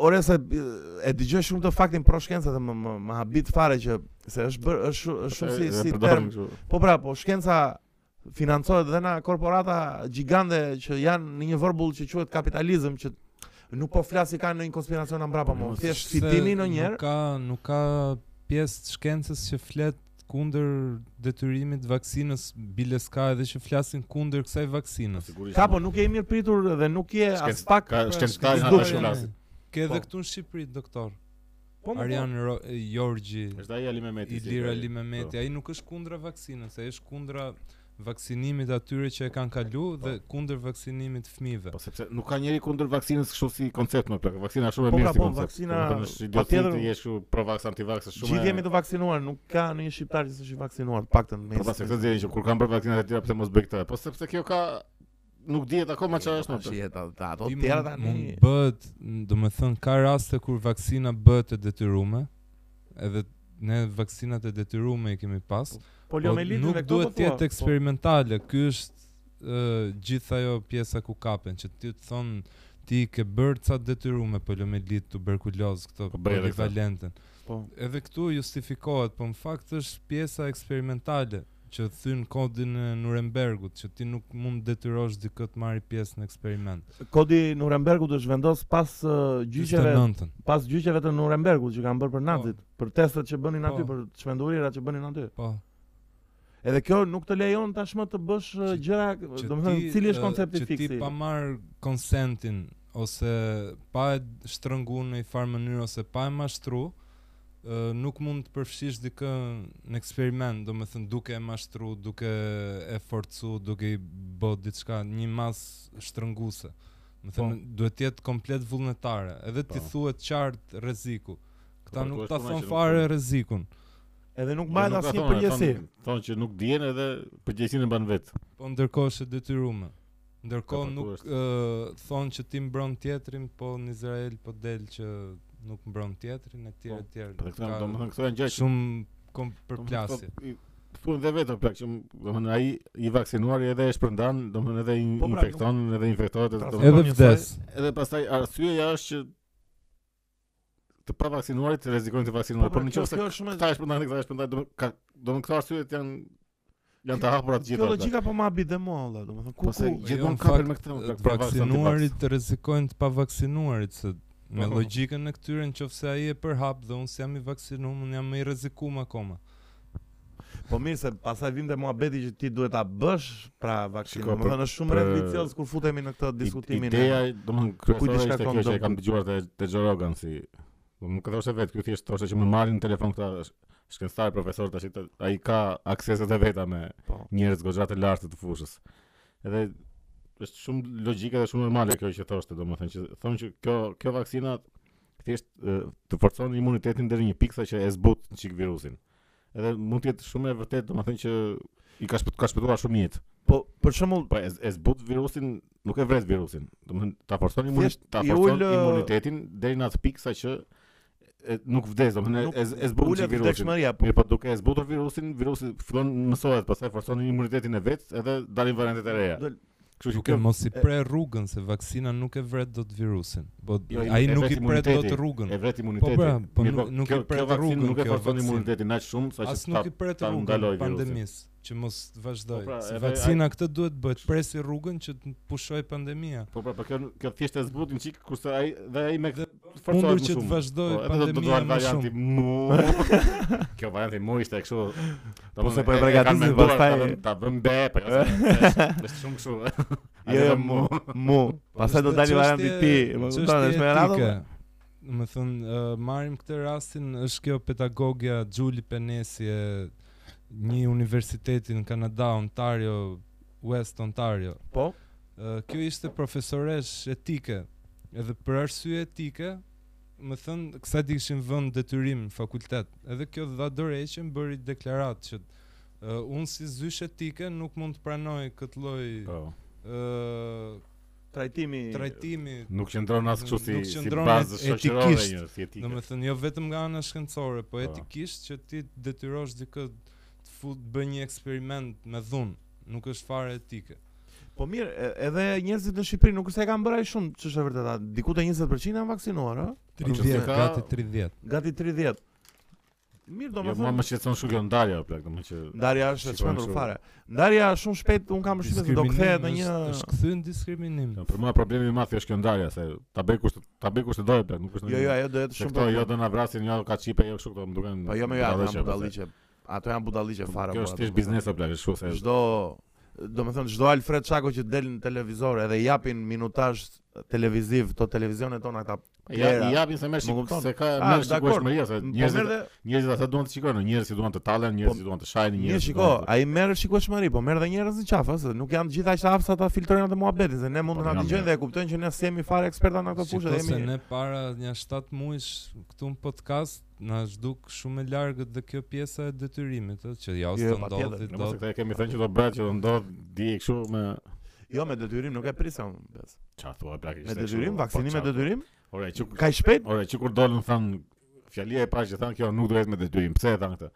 ore se e dëgjoj shumë të faktin pro shkenca dhe më më, më habit fare që se është bër, është shu- është shumë si si
E përdorin
term.
kështu.
Po pra, po shkenca financohet dhe nga korporata gjigande që janë në një vërbull që quhet kapitalizëm që Nuk po flas se ka ndonjë konspiracion mbrapa më.
Mos-
Thjesht si
Se
dini ndonjëherë.
Nuk ka nuk ka pjesë të shkencës që flet kundër detyrimit të vaksinës, bile s'ka edhe që flasin kundër kësaj vaksinës.
Sigurisht.
Ka po nuk je i mirë pritur dhe nuk je
Shkenc-
as pak
ka shkencëtarë
s'du-
ata që
s'du-
flasin.
Ke edhe
Po.
këtu në Shqipëri doktor
Po, po, po.
Arjan Ro- Jorgji,
Është ai Ali Mehmeti. po. si
Ilir
ka-
Ali Mehmeti, ai nuk është kundra vaksinës, ai është kundra vaksinimit atyre që e kanë kalu dhe kundër vaksinimit të fëmijëve.
Po sepse nuk ka njeri kundër vaksinës kështu si koncept më plak. Vaksina është shumë e
Po,
mirë
pra,
si
po,
koncept.
vaksina-
Domethënë, është idioti
patjetër-
të jesh kështu pro vax anti vax është shumë.
Gjithë jemi të vaksinuar, nuk ka ndonjë shqiptar që s'është i vaksinuar, të paktën
Po pas këtë
mes.
zëri që kur kanë bërë vaksinat e tjera pse mos bëj këtë? Po sepse kjo ka nuk dihet akoma çfarë është më plak.
Shjeta, ato
Ti
Po, tjera
mund-
tani.
mund bëhet, do të thënë ka raste kur vaksina bëhet e detyruar, edhe ne vaksinat e detyruara i kemi pas.
Poliomelitin
nuk
Po, dhe këto
duhet
po
të jetë
thua.
eksperimentale, ky është ë gjithë ajo pjesa ku kapen që ti të thon ti ke bërë ca detyrume poliomelit, tuberkuloz, këto
Po bëj edhe këto.
polivalenten.
Po.
Edhe këtu justifikohet, po në fakt është pjesa eksperimentale që thyn kodin e Nurembergut, që ti nuk mund detyrosh dikë të marrë pjesë në eksperiment.
Po. Kodi Nurembergut është vendos pas uh, gjyqeve
49-ën.
pas gjyqeve të Nurembergut që kanë bërë për nazit, për testet që bënin aty,
Po.
për çmendurirat që bënin aty.
Po.
Edhe kjo nuk të lejon tashmë të bësh uh,
Që-
gjëra,
që
domethënë
ti,
cili
ë,
është koncepti
Që ti
fiksi.
pa marr konsentin ose pa e shtrënguar në një farë mënyrë ose pa e mashtru, ë, nuk mund të përfshish dikë në eksperiment, do me thënë duke e mashtru, duke e forcu, duke i bë diçka, një mas shtrënguse. Më thënë, duhet jetë komplet vullnetare, edhe ti
Po.
thuhet qartë rreziku. Këta
Po,
nuk
po,
ta
është puna që
thon
nuk-
fare rrezikun.
Edhe nuk
Jo,
mbajnë
nuk ka
asnjë
thonë,
përgjegjësi.
thonë- Thonë që nuk dihen edhe përgjegjësinë e ban vet.
Po ndërkohë është e detyruar. Ndërkohë
Po, po, ku
nuk
është?
ë, thonë që ti mbron tjetrin, po në Izrael po del që nuk mbron tjetrin e tjerë e tjerë.
Po këto
Ka
domethënë këto janë gjëra që
shumë kom
Po,
përplasje.
Thunë dhe vetëm plak që domethënë ai i vaksinuari edhe e shpërndan, domethënë edhe i
Po, pra,
infekton, edhe infektohet, edhe-
Transformon
domethënë
Edhe
Domethënë,
vdes.
edhe pastaj arsyeja është që të pa vaksinuarit rrezikojnë të vaksinuar, por në
Po, pra, kjo-
qoftë se
kjo është shumë e-
këta e shpërndan, këta e shpërndan, domethënë ka domethënë këto arsyet janë janë të hapura të gjitha.
Kjo
plak.
logjika po ma abi dhe mua valla, domethënë ku
Po se
ku.
Jo,
gjithmonë
në
kapen
fakt,
me këtë plak, për vax,
Vaksinuarit të rrezikojnë të pavaksinuarit se me
Po.
logjikën e këtyre nëse ai e përhap dhe unë si jam i vaksinuar, unë jam më i rrezikuar akoma.
Po mirë se pastaj vjen te muhabeti që ti duhet ta bësh pra vaksinë.
Shiko, për-
Domethënë është shumë
për-
rrezikos kur futemi në këtë diskutimin. e-
Ideja, domethënë kryesore
diçka
ishte kjo që
kondom.
e kam dëgjuar te te Joe Rogan si do nuk e thoshte vetë, ky thjesht thoshte që më marrin në telefon këta sh- shkencëtarë profesor tash të- ai ka akseset e veta me
Po.
njerëz goxha të lartë të fushës. Edhe është shumë logjike dhe shumë normale kjo që thoshte, domethënë që thonë që kjo kjo vaksina thjesht ë, të forcon imunitetin deri në një pikë sa që e zbut çik virusin. Edhe mund të jetë shumë e vërtetë domethënë që i ka shpëtuar ka shpëtuar shumë jetë.
Po për shembull
Po e, e zbut virusin, nuk e vret virusin. Do të thënë ta forcon imunit,
Thjesht
ta
i
forcon
ul, uh, ë,
imunitetin deri në atë pikë saqë e, nuk vdes, do të thënë
nuk
e, e zbut
ulet
virusin.
vdekshmëria, po
Mirë, po duke e zbutur virusin, virusi fillon mësohet, pastaj forcon imunitetin e vet, edhe dalin variantet e reja.
Del-
Kështu Po, që
Duke
kjo
mos i pre rrugën se vaksina nuk e vret dot virusin. Po
Jo, i-
ai
e
nuk
vret
i pret dot
imuniteti,
rrugën.
e vret imunitetin.
bra, po
Mirë,
nuk- nuk
kjo-
i pret
kjo vaksinë
rrugën,
nuk e
kjo
forcon
vaksinë.
imunitetin aq shumë saqë
As
Po ta
nuk i pret
ta
rrugën
ndaloj virusin.
pandemisë, që mos vazhdoj.
Po pra,
se
edhe
vaksina këtë duhet bëhet, presi rrugën që të pushoj pandemia.
Po pra, po kjo kjo thjesht e zbutin çik kurse ai dhe ai me
Dhe
forcohet
Mundur
më
që të
shumë.
vazhdoj
Po, edhe do- do
pandemia
duan
më shumë.
varianti mu. Kjo varianti mu ishte kështu.
Po, se
domethënë,
po e
e- e
përgatisin,
kanë menduar ta
pastaj-
vëm- Ta vëm be, po. ja, se- Është shumë kështu. A
Jo,
do
jo,
mu.
mu, mu. Pastaj do
Është
dali
çështje-
varianti ti. Më
çështje
kupton, është me radhë.
etike.
valla.
Do Më thënë, uh, marim këtë rastin, është kjo pedagogja Gjuli Penesi e një universiteti në Kanada, Ontario, West Ontario.
Po.
Ë, kjo ishte profesoresh etike. Edhe për arsye etike, më thënë, kësa di kishin vënd detyrim në fakultet. Edhe kjo dha dorëheqjen bëri deklaratë që ë, unë si zysh etike nuk mund të pranoj këtë lloj ë
Po.
Trajtimi.
trajtimi,
Nuk qëndron as kështu si
Nuk
si
qëndron
bazë
et-
shoqërore
etikisht.
një, si
do
etike.
me thënë, jo vetëm nga ana shkencore,
Po.
po etikisht që ti të detyrosh dikë të fut bëj një eksperiment me dhunë, nuk është fare etike.
Po mirë, e- edhe njerëzit në Shqipëri nuk është se e kanë bërë ai shumë, ç'është e vërteta. Diku te 20% janë vaksinuar, ëh.
30,
30, gati 30.
Gati 30. Mirë
Jo, mua
domethënë.
më shqetëson shumë kjo ndarja plak, domethënë që
Ndarja është e
Shikojmë
çmendur
kështu.
fare. Ndarja shumë shpejt un kam përshtypjen se do kthehet në një
është kthyer në diskriminim.
Jo, për mua problemi i madh është kjo ndarja se ta bëj kush ta bëj kush të dojë plak, nuk është.
Jo, jo, ajo do jetë
shumë.
shumë.
Këto jo
problem.
do na vrasin, jo ka çipe, jo kështu këto më duken.
Po jo më jo, ato
budalliqe,
janë budalliqe. Ato janë budalliqe
po,
fare.
Kjo
po,
është
ato
thjesht biznes apo plak, është kështu se.
Çdo, domethënë çdo Alfred Çako që del në televizor edhe i japin minutazh televiziv, to televizionet tona ata.
Ja,
Era.
i japin se merr
Më
shik-
kupton.
se ka
Ah,
merr
dakor.
shikueshmëria se
Po merr
njerëzit
dhe
njerëzit ata duan të shikojnë, njerëz që duan të talen, njerëz
Po,
që duan të shajnë,
Mirë,
njerëz. që
shiko,
duan të-
ai merr shikueshmëri, po merr dhe njerëz në qafë, se nuk janë të gjitha që hapsa ta filtrojnë atë muhabetin, se ne mund
Po,
të na
janë
dëgjojnë
mirë.
dhe e kuptojnë që ne s'jemi fare eksperta
Po
në këtë fushë,
Shiko
dhe
se
jemi
ne para një 7 mujsh këtu në podcast na zhduk shumë e largët dhe kjo pjesa e detyrimit, ë, që ja
Jo,
ose
patjetër.
ndodhi
Në
do
mos e këtë e kemi thënë që do bëhet që do ndodh di kështu me
jo me detyrim, nuk e prisëm. bes.
çfarë thua plak.
Me detyrim, vaksinim me detyrim?
Ora, çu
Ka shpejt?
Ore, po, që kur dolën than fjalia e parë që than kjo nuk duhet me detyrim. Pse e than këtë?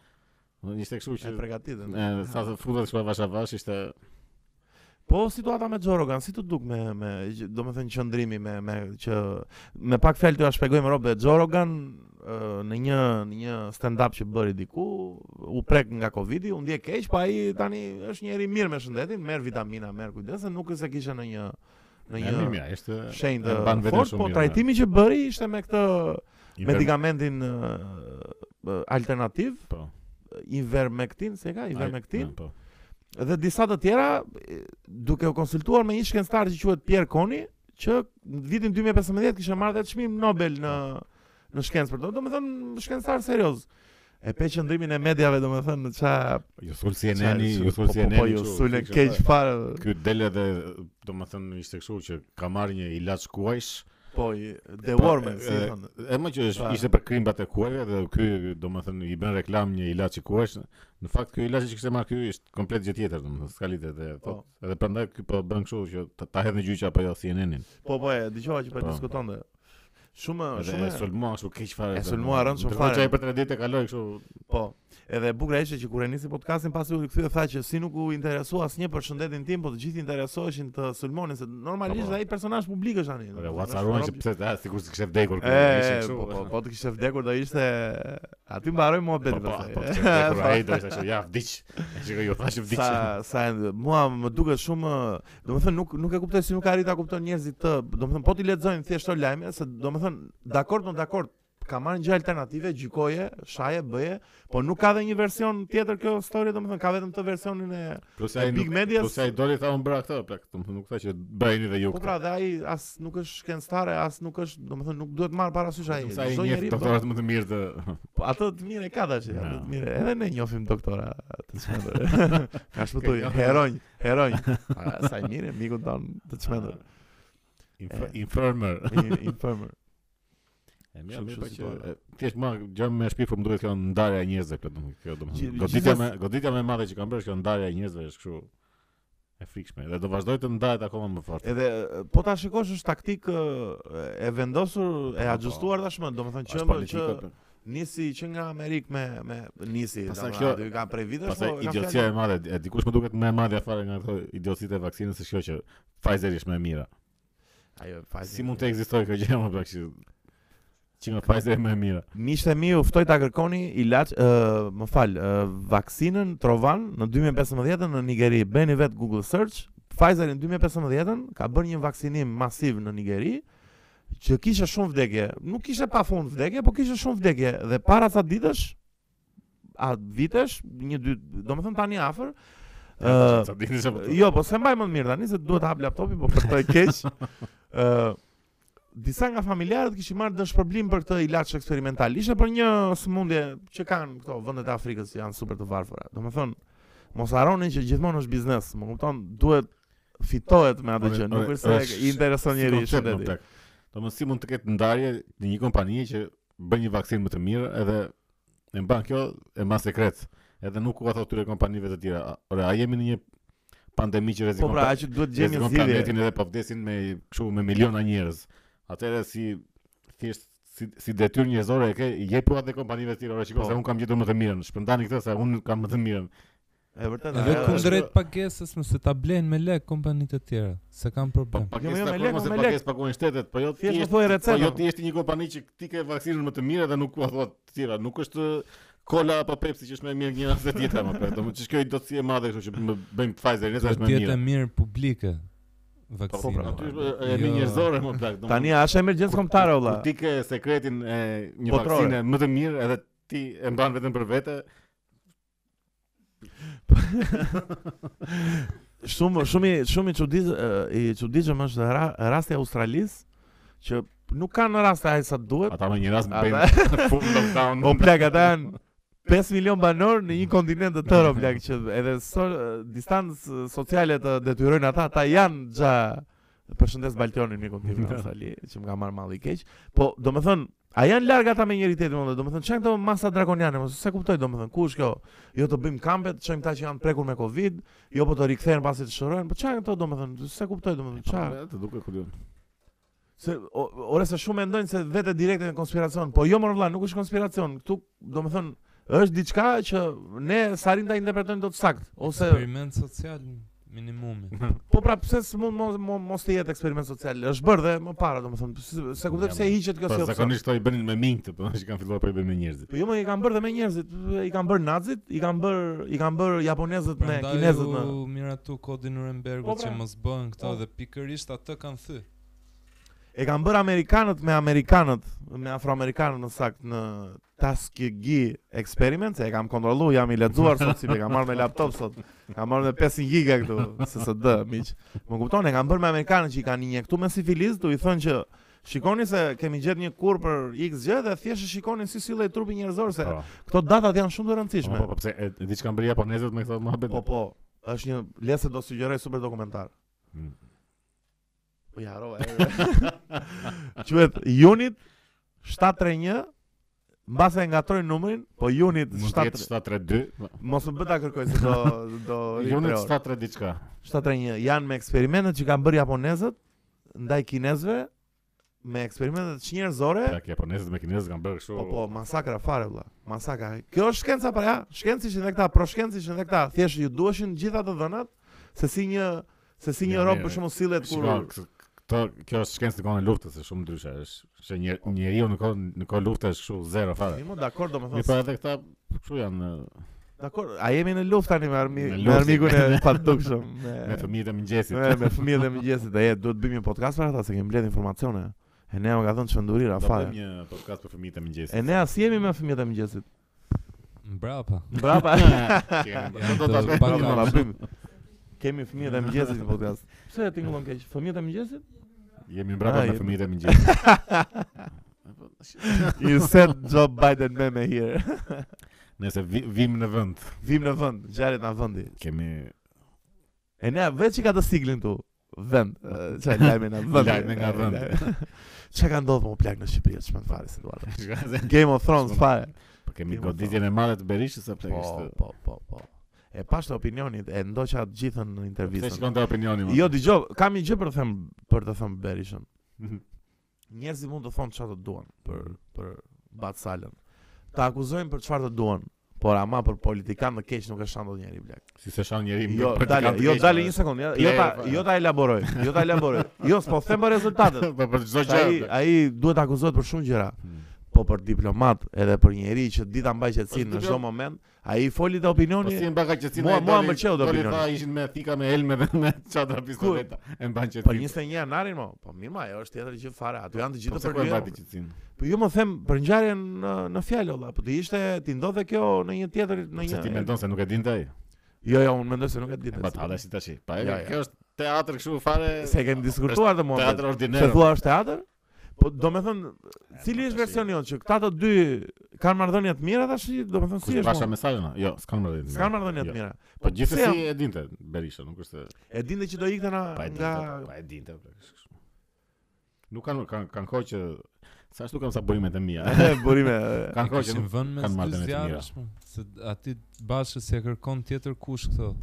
Do ishte kështu
E
që
përgatitën.
e, sa të futet shkoj vash avash ishte
Po situata me Xhorogan, si të duk me me gj- domethënë qëndrimi me me që me pak fjalë t'ua shpjegojmë robe Xhorogan ë, në një në një stand-up që bëri diku, u prek nga Covidi, u ndje keq, pa ai tani është njëri mirë me shëndetin, merr vitamina, merr kujdese, nuk është se kishte në një në
e
një
mimja, ishte
shenjë
e
të
mban veten
fortë,
shumë
po
mirë,
trajtimi që bëri ishte me këtë
Inver-
medikamentin ë, ë, alternativ,
Po.
Ivermectin, se ka
Ai-
Ivermectin,
Ja, Po.
dhe disa të tjera e, duke u konsultuar me një shkencëtar që quhet Pierre Koni, që në vitin 2015 kishte marrë dhe çmim Nobel në në shkencë për to. Domethënë shkencëtar serioz. E pe qëndrimin e mediave domethënë ça
Ju sul si eneni,
ça-
ju sul si
po-
eneni.
Po ju
kështu,
sulën
kështu,
keq
kështu.
fare.
Ky del edhe domethënë ishte kështu që ka marrë një ilaç kuajsh.
Po i- The
Po,
Warmen,
e,
si
e,
thonë.
E më që është-
Pa.
ishte për krimbat e kuajve dhe ky domethënë i bën reklam një ilaç i kuajsh. Në fakt ky ilaç që kishte marrë ky është komplet gjë tjetër domethënë, s'ka lidhje te
Po.
edhe prandaj ky po bën kështu që ta- ta hedh në gjyq apo jo si enenin.
Po po e dëgjova që po
Po.
diskutonte.
Edhe
Shumë
e
shumë
sulmua kështu keq fare.
E sulmua rënd shumë fare.
Ndërkohë që ai për 3 ditë e kaloi kështu.
Po. Edhe e bukur ishte që kur e nisi podcastin pasi u kthye tha që si nuk u interesua asnjë për shëndetin tim, po të gjithë interesoheshin të sulmonin se normalisht
Po, po.
ai personazh publik është tani.
Ora
domethënë,
wacaruan
është
që
rob-
pse ta sikur të kishte vdekur kur
E,
ishte kështu.
po, po, po të kishte vdekur do ishte aty mbaroi muhabeti
po, po,
pastaj.
kishte vdekur ai do ishte kështu, ja vdiq. Shikoj ju thashë vdiq.
Sa sa mua më duket shumë, domethënë nuk nuk e kuptoj si nuk arrit ta kupton njerëzit të, domethënë po ti lexojnë thjesht këto lajme se domethënë dakord, po dakord, ka marrë një gjë alternative, gjykoje, shaje, bëje, po nuk ka dhe një version tjetër kjo story, domethënë ka vetëm të versionin e
Plus
e
ai
Big
nuk-
Medias-
plus ai doli tha unë bëra këtë, plak, domethënë nuk tha që bëjeni dhe ju.
Po
këtë.
pra, dhe ai as nuk është shkencëtare, as nuk është, domethënë nuk duhet marr parasysh ai.
Sa i
pra, Çdo
njeh
njeri
doktorat më të mirë të
Po ato të mirë e ka tash, ato
Ja.
të mirë. Edhe ne njohim doktora të çmendur. Ka shpëtuj,
Ka-
heronj, heronj. A, Sa i mirë miku ton të çmendur.
Inf-
E.
infirmer.
I- Infirmer.
E
mirë,
mirë,
mirë,
po
po
që
që-
e, thjesht më gjë më shpifur më duhet kjo ndarja e njerëzve plot domethënë kjo domethënë.
Gjithë-
Goditja
gjithas-
më goditja më e madhe që kanë bërë është kjo ndarja e njerëzve është kështu e frikshme dhe do vazhdoj të ndahet akoma më fort.
Edhe po ta shikosh është taktik ë, e vendosur, e
Po, po.
ajustuar tashmë, domethënë
Është
që më që
politikë,
nisi që nga Amerikë me me nisi.
Pastaj
domethënë,
kjo-
aty ka prej vitesh,
Pastaj
po, ka
idiocia
fjalë-
e madhe, e dikush më duket më e madhe fare nga ato idiocitë e vaksinës se kjo që Pfizer është më e mira.
Ajo, fajzi.
Si mund të ekzistojë kjo gjë më pak që që nga Pfizer është më e mira.
Miqtë e mi u ftoj ta kërkoni ilaç, ë, më fal, ë, vaksinën Trovan në 2015 në Nigeri. Bëni vet Google search. Pfizer në 2015 ka bërë një vaksinim masiv në Nigeri që kishte shumë vdekje. Nuk kishte pafund vdekje, po kishte shumë vdekje dhe para sa ditësh a vitesh, një dy, domethënë tani afër, ë,
Sa dini se po.
Jo, po se mbaj më të mirë tani se duhet të hap laptopin, po për këtë e keq. Ë disa nga familjarët kishin marrë dëshpërblim për këtë ilaç eksperimental. Ishte për një sëmundje që kanë këto vendet e Afrikës që janë super të varfëra. Domethënë, mos harroni që gjithmonë është biznes, më kupton? Duhet fitohet me atë
Ore,
gjë,
ore,
nuk është se
është
i intereson njeriu
Si koncept, më
shëndeti.
pak. Domethënë si mund të ketë ndarje në një kompani që bën një vaksinë më të mirë edhe e mban kjo e mban sekret. Edhe nuk u ka thotë tyre kompanive të tjera. "A- Ore, a jemi në një pandemi që
Po
rrezikon
pra, aq që duhet gjejmë një
rrezikon
zgjidhje.
planetin edhe po vdesin me kështu me miliona njerëz. Atëherë si thjesht si, si detyrë njerëzore e ke i jep edhe kompanive të tjera, "Ore, shikoj
Po.
se un kam gjetur më të mirën. Shpërndani këtë se un kam më të mirën."
E vërtetë.
Edhe
ajo është-
kundrejt pagesës mëse ta blejnë me lek kompanitë të tjera, se kanë
Po
problem.
pagesë
jo, me
takon
lek,
ose
me
pagesë paguajnë shtetet, po jo
Thjesht
ti
më thuaj
Po
recetën.
jo ti je një kompani që ti ke vaksinën më të mirë dhe po nuk ku thua të tjera, nuk është Kola apo Pepsi që është më mirë njëra se tjetra më pret. Domethënë ç'kjo i dotësi e madhe kështu që më bëjmë Pfizer nesër
Do
është
të
më
jetë e
mirë.
mirë publike
Po
si,
po,
vaksina.
pra,
aty është e mirë
Jo.
njerëzore më plak. domethënë,
Tani është emergjencë kombëtare
kur
valla.
Ti ke sekretin e një
Botrore.
vaksine më të mirë edhe ti e mban vetëm për vete.
Shumë shumë i- shumë i çudit i çuditshëm është ra- rasti i Australisë që nuk kanë raste ai sa duhet.
Ata në një rast
Ata-
bëjnë full lockdown.
O Po, plak ata janë 5 milion banor në një kontinent të tërë o plak që edhe so, distancë sociale të detyrojnë ata, ata janë gja përshëndes Baltionin mikun tim në Australi, që më ka marrë malli keq. Po, domethënë, a janë larg ata me njëri tjetrin, domethënë, domethënë çan këto masa drakoniane, mos se kuptoj domethënë, ku është kjo? Jo të bëjmë kampet, çojmë ta që janë prekur me Covid, jo po të rikthehen pasi të shërojnë. Po çan këto domethënë, se kuptoj domethënë, çfarë?
Po, Të duket ku diun.
Se o- ore se shumë mendojnë se vetë direkte në konspiracion, po jo mor vëlla, nuk është konspiracion. Ktu, domethënë, është diçka që ne sarim ta interpretojmë dot sakt ose
Eksperiment social minimumi.
po pra pse s'mund mos, mos, mos të jetë eksperiment social. Është bërë dhe më para, domethënë, se, se kuptoj pse hiqet kjo
Po
si opsion.
zakonisht këto i bënin me minj këtu, po që kanë filluar po i bëjnë me njerëzit.
Po jo më i kanë bërë dhe me njerëzit, i kanë bërë nazit, i kanë bërë i kanë bërë japonezët me
Prandaj
kinezët në.
u mira tu kodin Nurembergut
Po, pra.
që mos bëhen këto
Po.
dhe pikërisht atë kanë thy.
E kanë bërë amerikanët me amerikanët, me afroamerikanët në sakt në Tuskegee Experiment, se e kam kontrollu, jam i lexuar sot si e kam marrë me laptop sot. Kam marrë me 500 giga këtu SSD, miq. Më kupton, e kanë bërë me amerikanët që i kanë injektuar me sifiliz, do i thonë që Shikoni se kemi gjetë një kur për X gjë dhe thjesht e shikoni si sillet trupi njerëzor se
Po.
këto datat janë shumë të rëndësishme.
Po po pse e- e diçka kanë bërë japonezët me këto mohabet.
Po po, është një lese do sugjeroj super dokumentar.
Mm.
Po ja, harova. e. Quhet Unit 731 mbase e ngatrojnë numrin, po Unit
Mund të jetë
7
732.
mos më bëta kërkoj se do do
Unit
ripreo.
73 diçka.
731 janë me eksperimentet që kanë bërë japonezët ndaj kinezëve me eksperimentet që njerëzore
Pak japonezët me kinezët kanë bërë kështu.
Po po, masakra fare vëlla. Masakra. Kjo është shkenca para, ja. Shkencësh edhe këta, proshkencësh edhe këta, thjesht ju duheshin gjitha të dhënat se si një se si një
Ja,
rob
mirë.
për shembull sillet kur
Shiko, kë- këto kjo është shkencë të kohën e luftës, është shumë ndryshe, është që
Po,
njer, njeriu në kohë në kohë lufte është kështu zero fare.
Jemi dakord
Mi pa
domethënë.
edhe këta kështu janë
Dakord, a jemi në luftë tani me armi,
Në
me
luftë.
armikun e padukshëm.
me fëmijët e mëngjesit.
Me, me fëmijët e mëngjesit e jetë, duhet bëjmë një podcast për ata se kemi bledh informacione. E nea më ka thënë çmendurira
Do bëjmë
fare.
një podcast për fëmijët e
E
mëngjesit.
nea si jemi me fëmijët e mëngjesit?
Mbrapa.
Brapa.
Që janë-
Janë
Do ta
të
bëjmë.
pak-
Brapa, la bëjmë. Kemi fëmijët e mëngjesit në podcast. Pse e tingëllon keq? Fëmijët e mëngjesit?
Jemi
Ah,
mbrapa me
jemi.
fëmijët e mëngjesit.
You said Joe Biden meme here.
Nëse vi- vim në vend,
Vim në vend, gjaret në vendi.
kemi
E ne vetë që ka të siglin tu. Vend. eh, Çaj lajme në vend.
Lajme nga vend.
Çka ka ndodhur më plak në Shqipëri ç'më fare se duart.
Po
Game of Thrones
S'mon-
fare.
po kemi goditjen e madhe të Berishës sa plak
Po,
ishte.
po, po, po. E pashtë opinionit, e ndoqa të gjithën në
Se
intervistën.
shikon te opinioni më.
Jo, dëgjoj, kam një gjë për të them për të thënë Berishën. Njerëzit mund të thonë çfarë të duan për për Batsalën. Ta akuzojnë për çfarë të duan, por ama për politikan të keq nuk e shan dot njeri blek.
si se shan njeri
Jo, dale, jo dale një sekond, ja- jo ta jo ta elaboroj, jo ta elaboroj. Jo, s'po them për rezultatet.
Po për çdo
Se Ai
gjë.
ai duhet të akuzohet për shumë gjëra,
Hmm.
po për diplomat edhe për njeri që dita mbaj qetësinë
Po,
në
si
çdo
diplom-
moment, ai foli të
Po si
opinioni.
e mba kaqësinë.
Mua-
ai
mua
doli-
m'pëlqeu do
doli
opinioni.
tha ishin me thika me helme dhe me çadra pistoleta. E mban qetësinë.
Për 21 janarin mo, po mirë ma, ajo është tjetër gjë fare, aty janë të
Po
gjithë
pse
për
ku e
dy.
mbati qetësinë.
Po ju më them për ngjarjen në, në fjalë olla, po ti ishte ti ndodhe kjo në një tjetër në
Se ti
një.
mendon se nuk e dinte ai.
Jo, jo, unë mendoj se nuk e di.
E Batalla si tash. Pa
Ja,
e
ja.
kjo është teatr kështu fare.
Se kemi diskutuar të mua.
Teatr
vetë. Se
ordinar.
thua është teatr? Po do me thënë, cili
po,
është
tash i-
versioni jonë që këta të dy kanë marrëdhënie të mira tash, do me thënë si
Kush
është.
pasha
mo?
mesazhin? Jo, s'kan marrë. ditën.
S'kan marrëdhënie
Jo.
të mira.
Po gjithsesi
pse
e dinte Berisha, nuk është se
E dinte që do ikte na
pa e dinte,
nga
pa e dinte. bla, kështu. Nuk kanë kanë kanë kohë që sa ashtu kam sa burimet e mia.
burime.
Kanë kohë që
Kishin
nuk-
vënë me
kanë marrë
dy
dëmet e mira.
zjarësh, më. se aty bashkë se kërkon tjetër kush këto.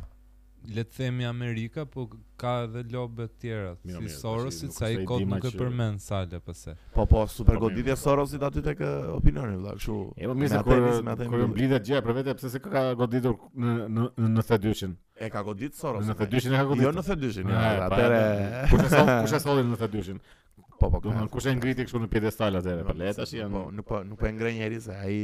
Le të themi Amerika, po ka edhe lobe të tjera,
Mirë,
si
mirë, tash
Sorosit,
i-
sa i
nuk- se i
kod
di ma
nuk e
që-
përmend sale pse.
Po po, super
Po, mirë.
goditje Sorosit aty tek eh, opinioni vëlla, kështu.
E po mirë se
me atë
kur
nis, me atë
kur
mbyll.
mblidhet gjëja për vete pse se ka goditur në në në 92-shin.
E ka godit
Në
Soros.
92-shin e ka
Jo
goditur.
në 92-shin, jo,
Ah, e, pa,
atëre.
e, Kush e solli kush e solli në 92-shin?
po, po.
Domethënë kush e ngriti kështu në piedestal atëherë, pa le tash janë.
Po, nuk po, nuk po e ngrej njerëz, ai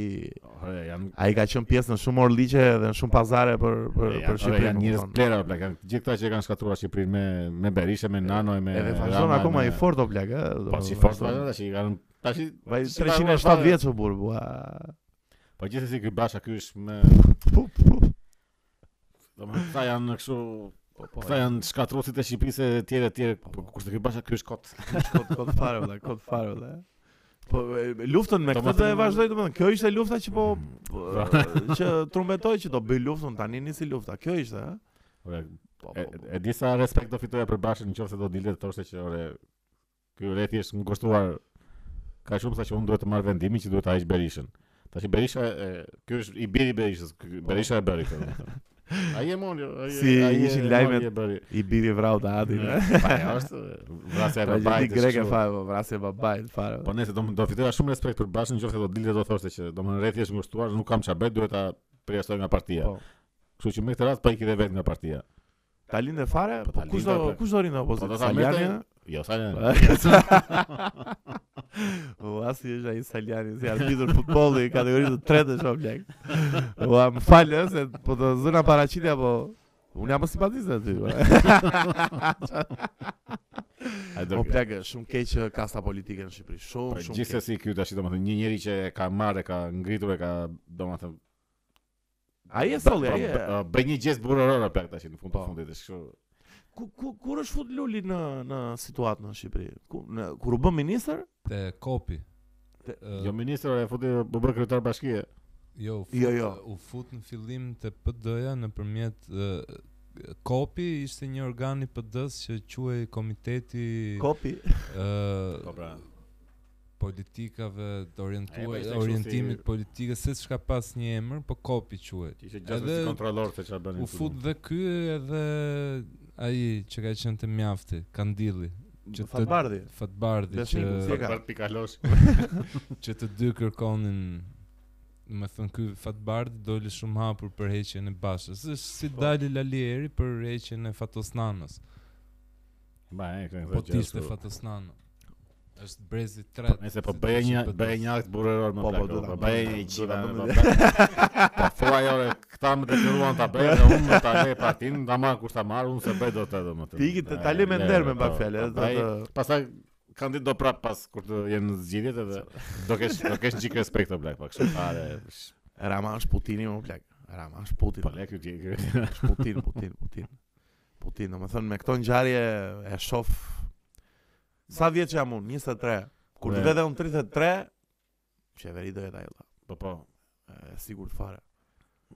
Ore, janë
ai ka qenë pjesë në shumë orë ligje dhe në shumë pazare për për
janë-
për
ore,
Shqipërinë.
Janë njerëz
kupton?
plera, plak, janë gjithë këta që e kanë shkatruar Shqipërinë me me Berisha, me Nano e me
Edhe vazhdon
Rama,
akoma
me-
i fort o plak, ë.
Po
domethënë,
si fort
vazhdon.
vazhdon tash i kanë tash i-
Vaj
si vazhdon,
307
vazhdon.
vjeç o burr, bua.
Po gjithsesi ky Basha ky është me
Po, po.
domethënë këta janë kështu
Po, po.
këta janë shkatruesit e Shqipërisë e tjerë e tjerë. Po kurse ky Basha ky është kot.
kot kot fare valla, kot fare valla. Po e, luftën me
Do
këtë
më
do e
thënë-
vazhdoi domethënë. Kjo ishte lufta që po
Po.
po, që trumbetoi që do bëj luftën tani nisi lufta. Kjo ishte, ha.
Ore,
Po,
E,
po, po.
e di sa respekt do fitoja për Bashën në qoftë se do dilet thoshte që ore ky ore thjesht më ngushtuar ka shumë sa që unë duhet të marr vendimin që duhet ta hiq Berishën. Tash Berisha e, ky është i biri i Berishës, ky- Berisha e bëri këtë. Ai e mori, ai
Si
ai e-
ishin
e
lajmet.
mori, e bëri.
I biri vrau të atin. e.
Pa, ja, është vrasja e
Tragjedi
babait.
greke fare, po, vrasje e babait fare.
Po nëse do do fitoja shumë respekt për Bashën në qoftë se do dilet do thoshte që domethënë rreth është ngushtuar, nuk kam çfarë bëj, duhet ta përjashtoj nga partia.
Po.
Kështu që me këtë rast pa ikë dhe vetë nga partia.
Ta lindë fare,
Po,
po
ta
kush
lindë,
do
po.
kush do rinë opozitë?
Po, do ta
Saljani?
merrte- Jo, sa janë.
Po. U asi është ai Saljani, si arbitër futbolli i kategorisë të tretë është o blek. Ua, më falë ë, se po të zëna paraqitja, po unë jam më simpatist aty. po.
Ai do
Po plak, është shumë keq ë, kasta politike në Shqipëri,
Po
shumë shumë keq.
gjithsesi ky tash domethënë një njeri që e ka marrë, e ka ngritur, e ka domethënë
Ai e solli, ai.
b-
e-
b- bëj një gest burroror apo tash në fund të
Po.
fundit është kështu.
Ku ku kur është fut Luli në në situatë në Shqipëri? Ku në kur u bë ministër?
Te kopi.
Te-
Ë,
Jo ministër e futi u bë kryetar bashkie.
Jo, u fut,
Jo, jo.
u fut në fillim te PD-ja nëpërmjet ë, Kopi ishte një organ i PD-s që quhej Komiteti
Kopi.
ë,
Po pra.
politikave të
E, po
orientuar
ishte kështu
orientimit
si-
politike se çka pas një emër, po Kopi quhet.
Që ishte
Edhe-
gjashtë si kontrollor se çfarë bënin.
U fut dhe ky edhe ai që ka qenë te mjafti, Kandilli, Që të-
Fatbardi.
Fatbardi që
Besniku, si e
dhe
ka?
ka pikalosh.
që të dy kërkonin më thënë ky Fatbardi doli shumë hapur për heqjen e Bashës. Është si
Po.
dali Lalieri për heqjen e Fatosnanos.
Ba, e kanë.
Po ti ishte Fatosnano. Është brezi i
Po,
tretë.
Nëse
si
po
të
bëje
thoshin
një
PD-s.
bëje një akt burroror më
Po, po,
plako,
do ta
po
bëj,
bëje
do
një
ta
çiva.
bëj.
Po po thuaj ore, këta më detyruan ta bëjë, dhe unë ta lej partin, ta marr kur ta marr, unë se bëj dot atë domethënë.
Ti ikit ta le me
E,
nder me
po,
pak fjalë,
po, bëj- Pastaj kandid do prap pas kur të jenë në zgjidhjet edhe do kesh do kesh gjik respekt o blak pak kështu fare. sh-
Rama është Putini më plak. Rama është Putin.
Po le ky gjik.
është Putin, Putin, Putin. Putin, do më thënë me këto ngjarje e shoh sa vjeç jam unë, 23. Kur
Ne.
të vete unë 33, qeveri do jetë ajo. vlla.
Po po.
E sigurt fare.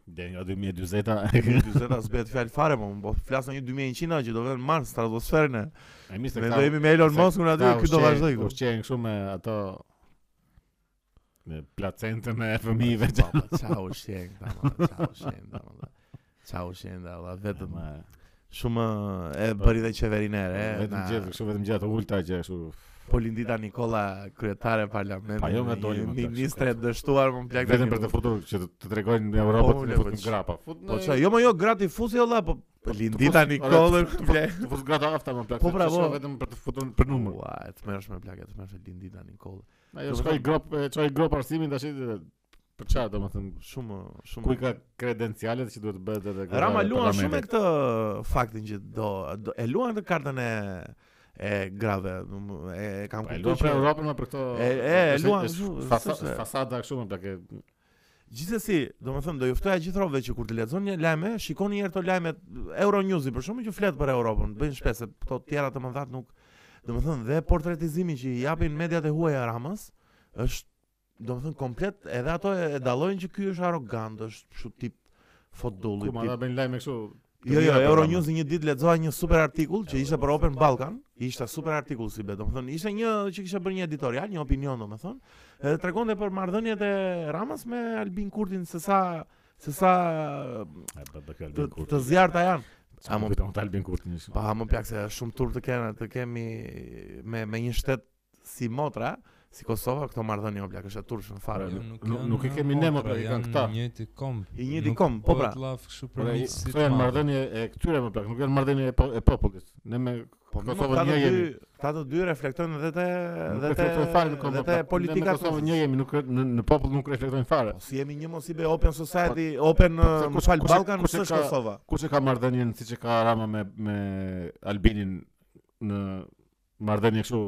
Deri nga 2040-a.
40 as bëhet fjalë fare, po po flas në një 2100 që do vjen në Mars, stratosferën. e.
E mirë se
Ne
këta-
do jemi me Elon
se
Musk unë aty,
këta
ky do
ushqejnë-
vazhdoj këtu.
Ushqejnë kështu me ato me placentën e fëmijëve.
Po, po, Çau shen, tamam, çau shen, tamam. Çau shen, valla, vetëm
Ma,
shumë e
Po.
bëri dhe qeverinë e re.
Vetëm
na-
gjithë, kështu vetëm gjithë ulta që kështu.
Po lindita Nikola, kryetare e parlamentit.
Pa, jo nga
një
doli, më plak,
Ministre e dështuar, më plak.
Vetëm për të futur që të- të tregojnë në Europë
Po,
të
le,
në
po,
futën
që-
grapa. Fut në-
Po çaj, jo më jo grati fusi olla, po lindita
fut-
Nikola,
ore,
më plak.
po, Të fut grata afta më plak.
Po,
se që
bravo. Po,
shkon Vetëm për të futur për numër.
Ua, e të mërshme plak, e të mërshme lindita Nikola.
Ajo
Do
shkoi
me thënë-
grop, e, çoi grop arsimin tash e, për çfarë domethënë
Shumë, shumë.
ku i ka kredencialet që duhet bëhet edhe kërë
Rama luan
parlamentit.
shumë me këtë faktin që do, do e luan këtë kartën e e grave, do më- e e kam
Po, e
kuptuar
luan për
që
Europën ma për këto
E, e, e
është-
luan
është
shumë,
fasa-
s'është-
fasada kështu më plakë.
gjithsesi, domethënë do ju ftoja gjithë rrove që kur të lexoni një lajme, shikoni një herë to lajmet Euronews-i për shkakun që flet për Europën, bëjnë shpesh se këto të tjera të mëdha nuk domethënë dhe portretizimi që i japin mediat e huaja Ramës është domethënë komplet edhe ato e e dallojnë që ky është arrogant, është kështu tip
Ku
fotdulli,
ma
tip
da bën lajme kështu.
Jo, jo,
Mira
Euronews një ditë lexova një super artikull që ishte për Open Balkan, ishte super artikull si be, domethënë ishte një që kishte bërë një editorial, një opinion domethënë, edhe tregonte për marrëdhëniet e Ramës me Albin Kurtin se sa se sa
E bë bë kjo
të,
Albin Kurti.
të zjarta janë.
A më piton Albin Kurti. një shumë.
Pa, më plak se është shumë tur të kena të kemi me me një shtet si Motra, Si Kosova, këto marrëdhënie o blaq është e turshën fare.
Jo,
bla.
nuk- nuk e kemi ne, mo, pra, i kanë këta.
Janë njëti komb.
I njëti komb, po, pra.
Laf kështu për
Por ai-
miqësit
këto janë
madhe.
marrëdhënie e këtyre më plak, nuk janë marrëdhënie e, po, e popullit. Ne me
Po mirë,
Kosovën
ta të
një
dy-
jemi.
Ta të dy reflektojnë edhe te
nuk
edhe te
reflektojmë fare në kom-
edhe
plak.
te
Ne me
politika
Kosovën një jemi, nuk në, në popull nuk reflektojnë fare.
Po si jemi një mos i be open society, open
po, se
uh,
kush-
më fal
kush e-
Ballkan,
kush e
s'është
ka-
Kosova.
Kush e ka marrëdhënien siç e ka Rama me me Albinin në marrëdhënie kështu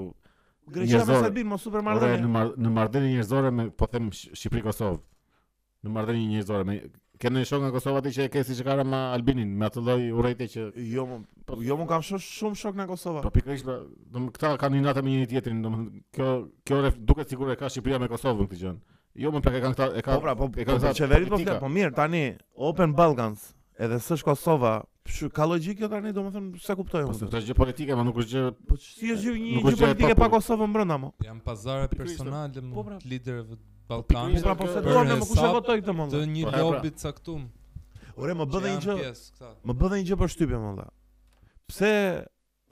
Greqia me
njerëzore.
Serbin mos super
ore,
marrëdhënie.
në mar, në marrëdhënie njerëzore me po them Sh- Shqipëri-Kosovë. Në marrëdhënie njerëzore me kanë një shoh nga Kosova atë që e ke siç e ka Rama Albinin me atë lloj urrejtje që
Jo, mo, jo më kam shumë shumë shok në Kosova.
Po pikërisht, pra, dom këta kanë një natë me njëri tjetrin, dom kjo kjo ref, duket sikur e ka Shqipëria me Kosovën këtë gjë. Jo më pak e kanë këta e ka.
Po pra, po
e
e
ka
kanë
këta
qeverit po
politika.
flet, po mirë tani Open Balkans, edhe s'është Kosova. Pshu, ka logjikë kjo tani, domethënë se kuptoj
Po se
unë.
është gjë politike, ma nuk është gjë
Po si është gjë- një
Nuk
gjë
është gjë e
politike pa
popullit.
Kosovën brenda mo?
Janë pazare
Pikërisht,
personale më
po, pra.
liderëve të
Po
Ballkanit.
Pikërisht,
pra, po se
Për
duam ne, mo kush e
hesap
votoi këtë mo?
Të
valla?
një
Po, e pra.
lobi të caktuar.
Ore, më Po, bëdhe një gjë.
këta.
Më bëdhe një gjë për shtypje më valla. Pse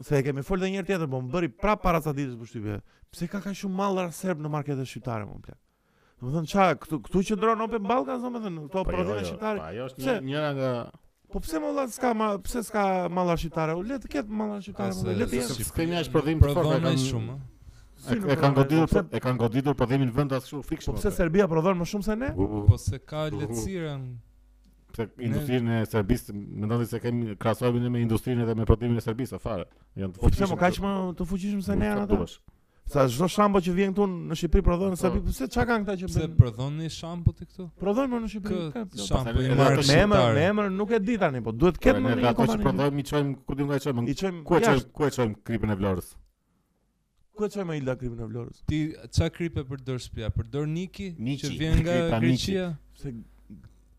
se e kemi folë edhe një herë tjetër, po më bëri prap para sa ditës për shtypje. Pse ka kaq shumë mallra serb në marketet shqiptare më plak? Domethënë ça, këtu këtu që ndron Open Balkans domethënë, këto prodhime shqiptare.
Po ajo është
Pse?
një- njëra nga
Po pse më valla s'ka ma, pse s'ka malla shqiptare? U le të ketë malla shqiptare, mo,
Ase-
le të jetë.
Shqip-
sistemi është prodhim të fortë. e
Prodhon ai
kanë-
shumë. ë.
e- E kanë goditur, pro- e kanë goditur prodhimin vend as kështu
Po
frikshëm.
pse Serbia prodhon më shumë se ne?
Po se ka lehtësira.
se industrinë e Serbisë, mendoni se kemi krahasohemi ne me industrinë edhe me prodhimin e Serbisë, a fare. Janë të
Po pse
fuqishëm
më kaq
këto.
më të fuqishëm se ne
Nuk
janë
ka
ata?
duash.
Sa çdo shambo që vjen këtu në Shqipëri prodhon në Serbi,
Po.
pse çka kanë këta që
Pse
bëjnë?
prodhon një shampo ti këtu?
Prodhojnë më në Shqipëri.
Kë
Mhm. ka-
shampo i
edhe
marrë
ato
Me emër, me
shqiptarë.
emër nuk e di tani, po duhet ketë
Ne
më
nga
një
ato që
kompani.
prodhojmë i çojmë ku diun nga i çojmë.
I
Ku
çojmë
e çojmë,
jashtë.
ku e çojmë kripën e Vlorës?
Ku e çojmë Ilda Kripin e Vlorës?
Ti ça kripe përdor shtëpia? Përdor Niki,
Niki.
që vjen
Kripa
nga
Niki.
Greqia.
Se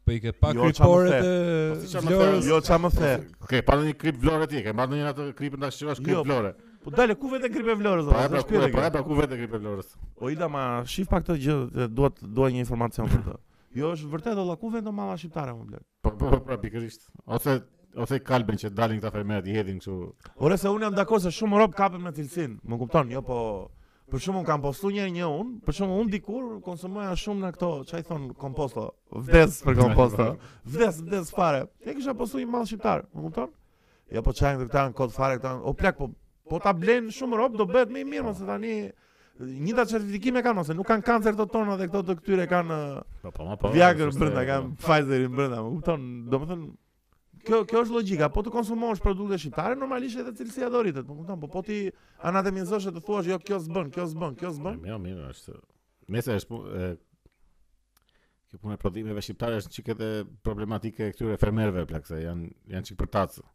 Po i ke pa
Jo, qa më
kripore
the.
të
Po, si qa më the,
Vlorës.
jo ça më the.
Ke pa ndonjë krip Vlorë atje, ke marrë ndonjë atë kripën ta shqirash
Jo,
krip Vlorë.
Po dale ku vetë Kripi e Vlorës?
Po
valla,
e pra
s'është
ku e
pyetje
pra
kjo.
e pra ku vetë krip e Vlorës.
O Ilda ma shif pak këtë gjë, dhe dua të- dua një informacion për të. Jo, është vërtet olla ku vjen do malla shqiptare më bler.
Po po po, pra pikërisht. Ose ose kalben që dalin këta fermerët i hedhin kështu.
Ore se unë jam dakord se shumë rob kapen me cilësin, më kupton, jo po për shkakun kam postu një një unë, për shkakun unë dikur konsumoja shumë në këto, çai thon komposto, vdes për komposto, vdes vdes fare. E kisha postu një mall shqiptar, më kupton? Jo po çajin këta në kod fare këta, o plak po po ta blen shumë rob do bëhet më i mirë mos se tani Njëta certifikime kanë ose nuk kanë kancer të tona dhe këto të këtyre kanë
Po po ma
po,
po.
Viagra
është
brenda,
e-
kanë Pfizerin brenda, më kupton? Domethënë kjo kjo është logjika, po të konsumosh produkte shqiptare normalisht edhe cilësia do rritet, më kupton? Po po ti anatemizosh e të thuash jo kjo s'bën, kjo s'bën, kjo s'bën.
Jo, mirë është. Nëse është pu- e, kjo punë e prodhimeve shqiptare është çik edhe problematike e këtyre fermerëve plak se janë janë çik për tacë.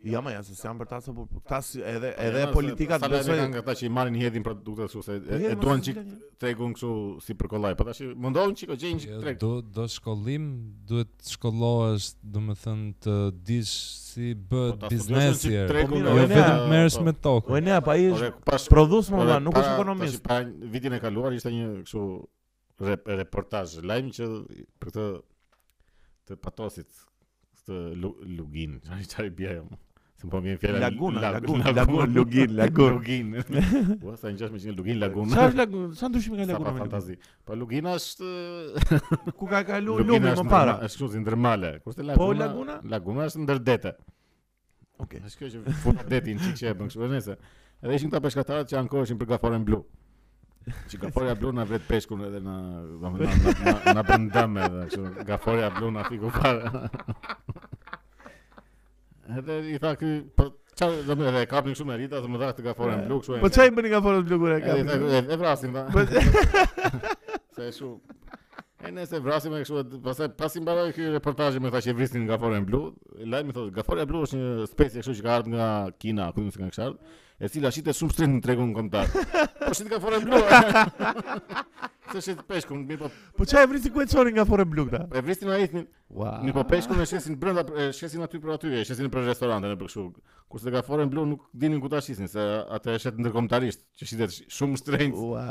Jo, më ja se s'jam për ta se po po, këta si- edhe
Po,
edhe
janë,
politika
se
të
salajnë
besoj.
kanë nga ata që i marrin i hedhin produktet kështu se e- e
Jemi,
duan
mos
çik
s'blen, ja.
tregun kështu si për kollaj. Po tash mundohen çik o gjejnë çik
Jo,
treg.
Do do shkollim, duhet shkollohesh, domethënë të dish si
Po, ta studiosh në
bëhet biznesi.
çik
erë.
tregun,
Po,
Jo
mirë,
vetëm
po,
merresh
po.
me
O e
tokë.
nea, pa i
Ore,
është
pash
prodhues më
Ore,
dha, Pra, nuk është
para-
ekonomist.
tash Para pra, vitin e kaluar ishte një kështu rep, reportazh lajm që për këtë të patosit këtë lu, lugin, çfarë çfarë bie ajo. Se më po më vjen fjala
Laguna,
lag-
lagun, lagun, lugin, lagun.
Lugin. Ua Po, sa ngjesh me qenë lugin laguna.
Sa është lagun? Sa ndryshimi ka
Sa pa
laguna? me lagun?
fantazi. Po lugina është
Ku ka kalu
lugina
lumi
është
më
ndërma-
para? Po,
Është kështu si ndërmale. Kurse laguna
laguna?
Laguna është ndër dete.
Okej.
Është kjo që fut detin çik që e bën kështu nëse. Edhe ishin këta peshkatarët që ankoheshin për gaforen blu. Që gaforja blu na vret peshkun edhe në domethënë na na, na bën dëm edhe kështu gaforja blu na fiku fare. Edhe i tha ky po çfarë domethënë edhe e kapnin kështu me rita se më dha këtë gaforen blu kështu. e-
Po çaj bëni nga forës blugur e ka.
Edhe i tha, e, e vrasim ta.
Po
Se e shu. E nëse vrasim e kështu, e- pastaj pasi mbaroi ky reportazh me ta që vrisin nga Forën Blu, lajmi thotë Gaforia Blu është një specie kështu që ka ardhur nga Kina, ku nuk se kanë kështu, e cila shitet shumë shtrenjtë në tregun kombëtar. Po shit Gaforia Blu. Se shit peshkun, mi po
po çaj vrisi ku e çoni nga forë blu këta.
e vrisin ai ethnin,
Ua.
mi po peshkun e shesin brenda, e shesin aty për aty, e shesin për restoranteve për kështu. Kurse Gaforia Blu nuk dinin ku ta shisin, se atë e shet ndërkombëtarisht, që shitet shumë shtrenjtë.
Ua.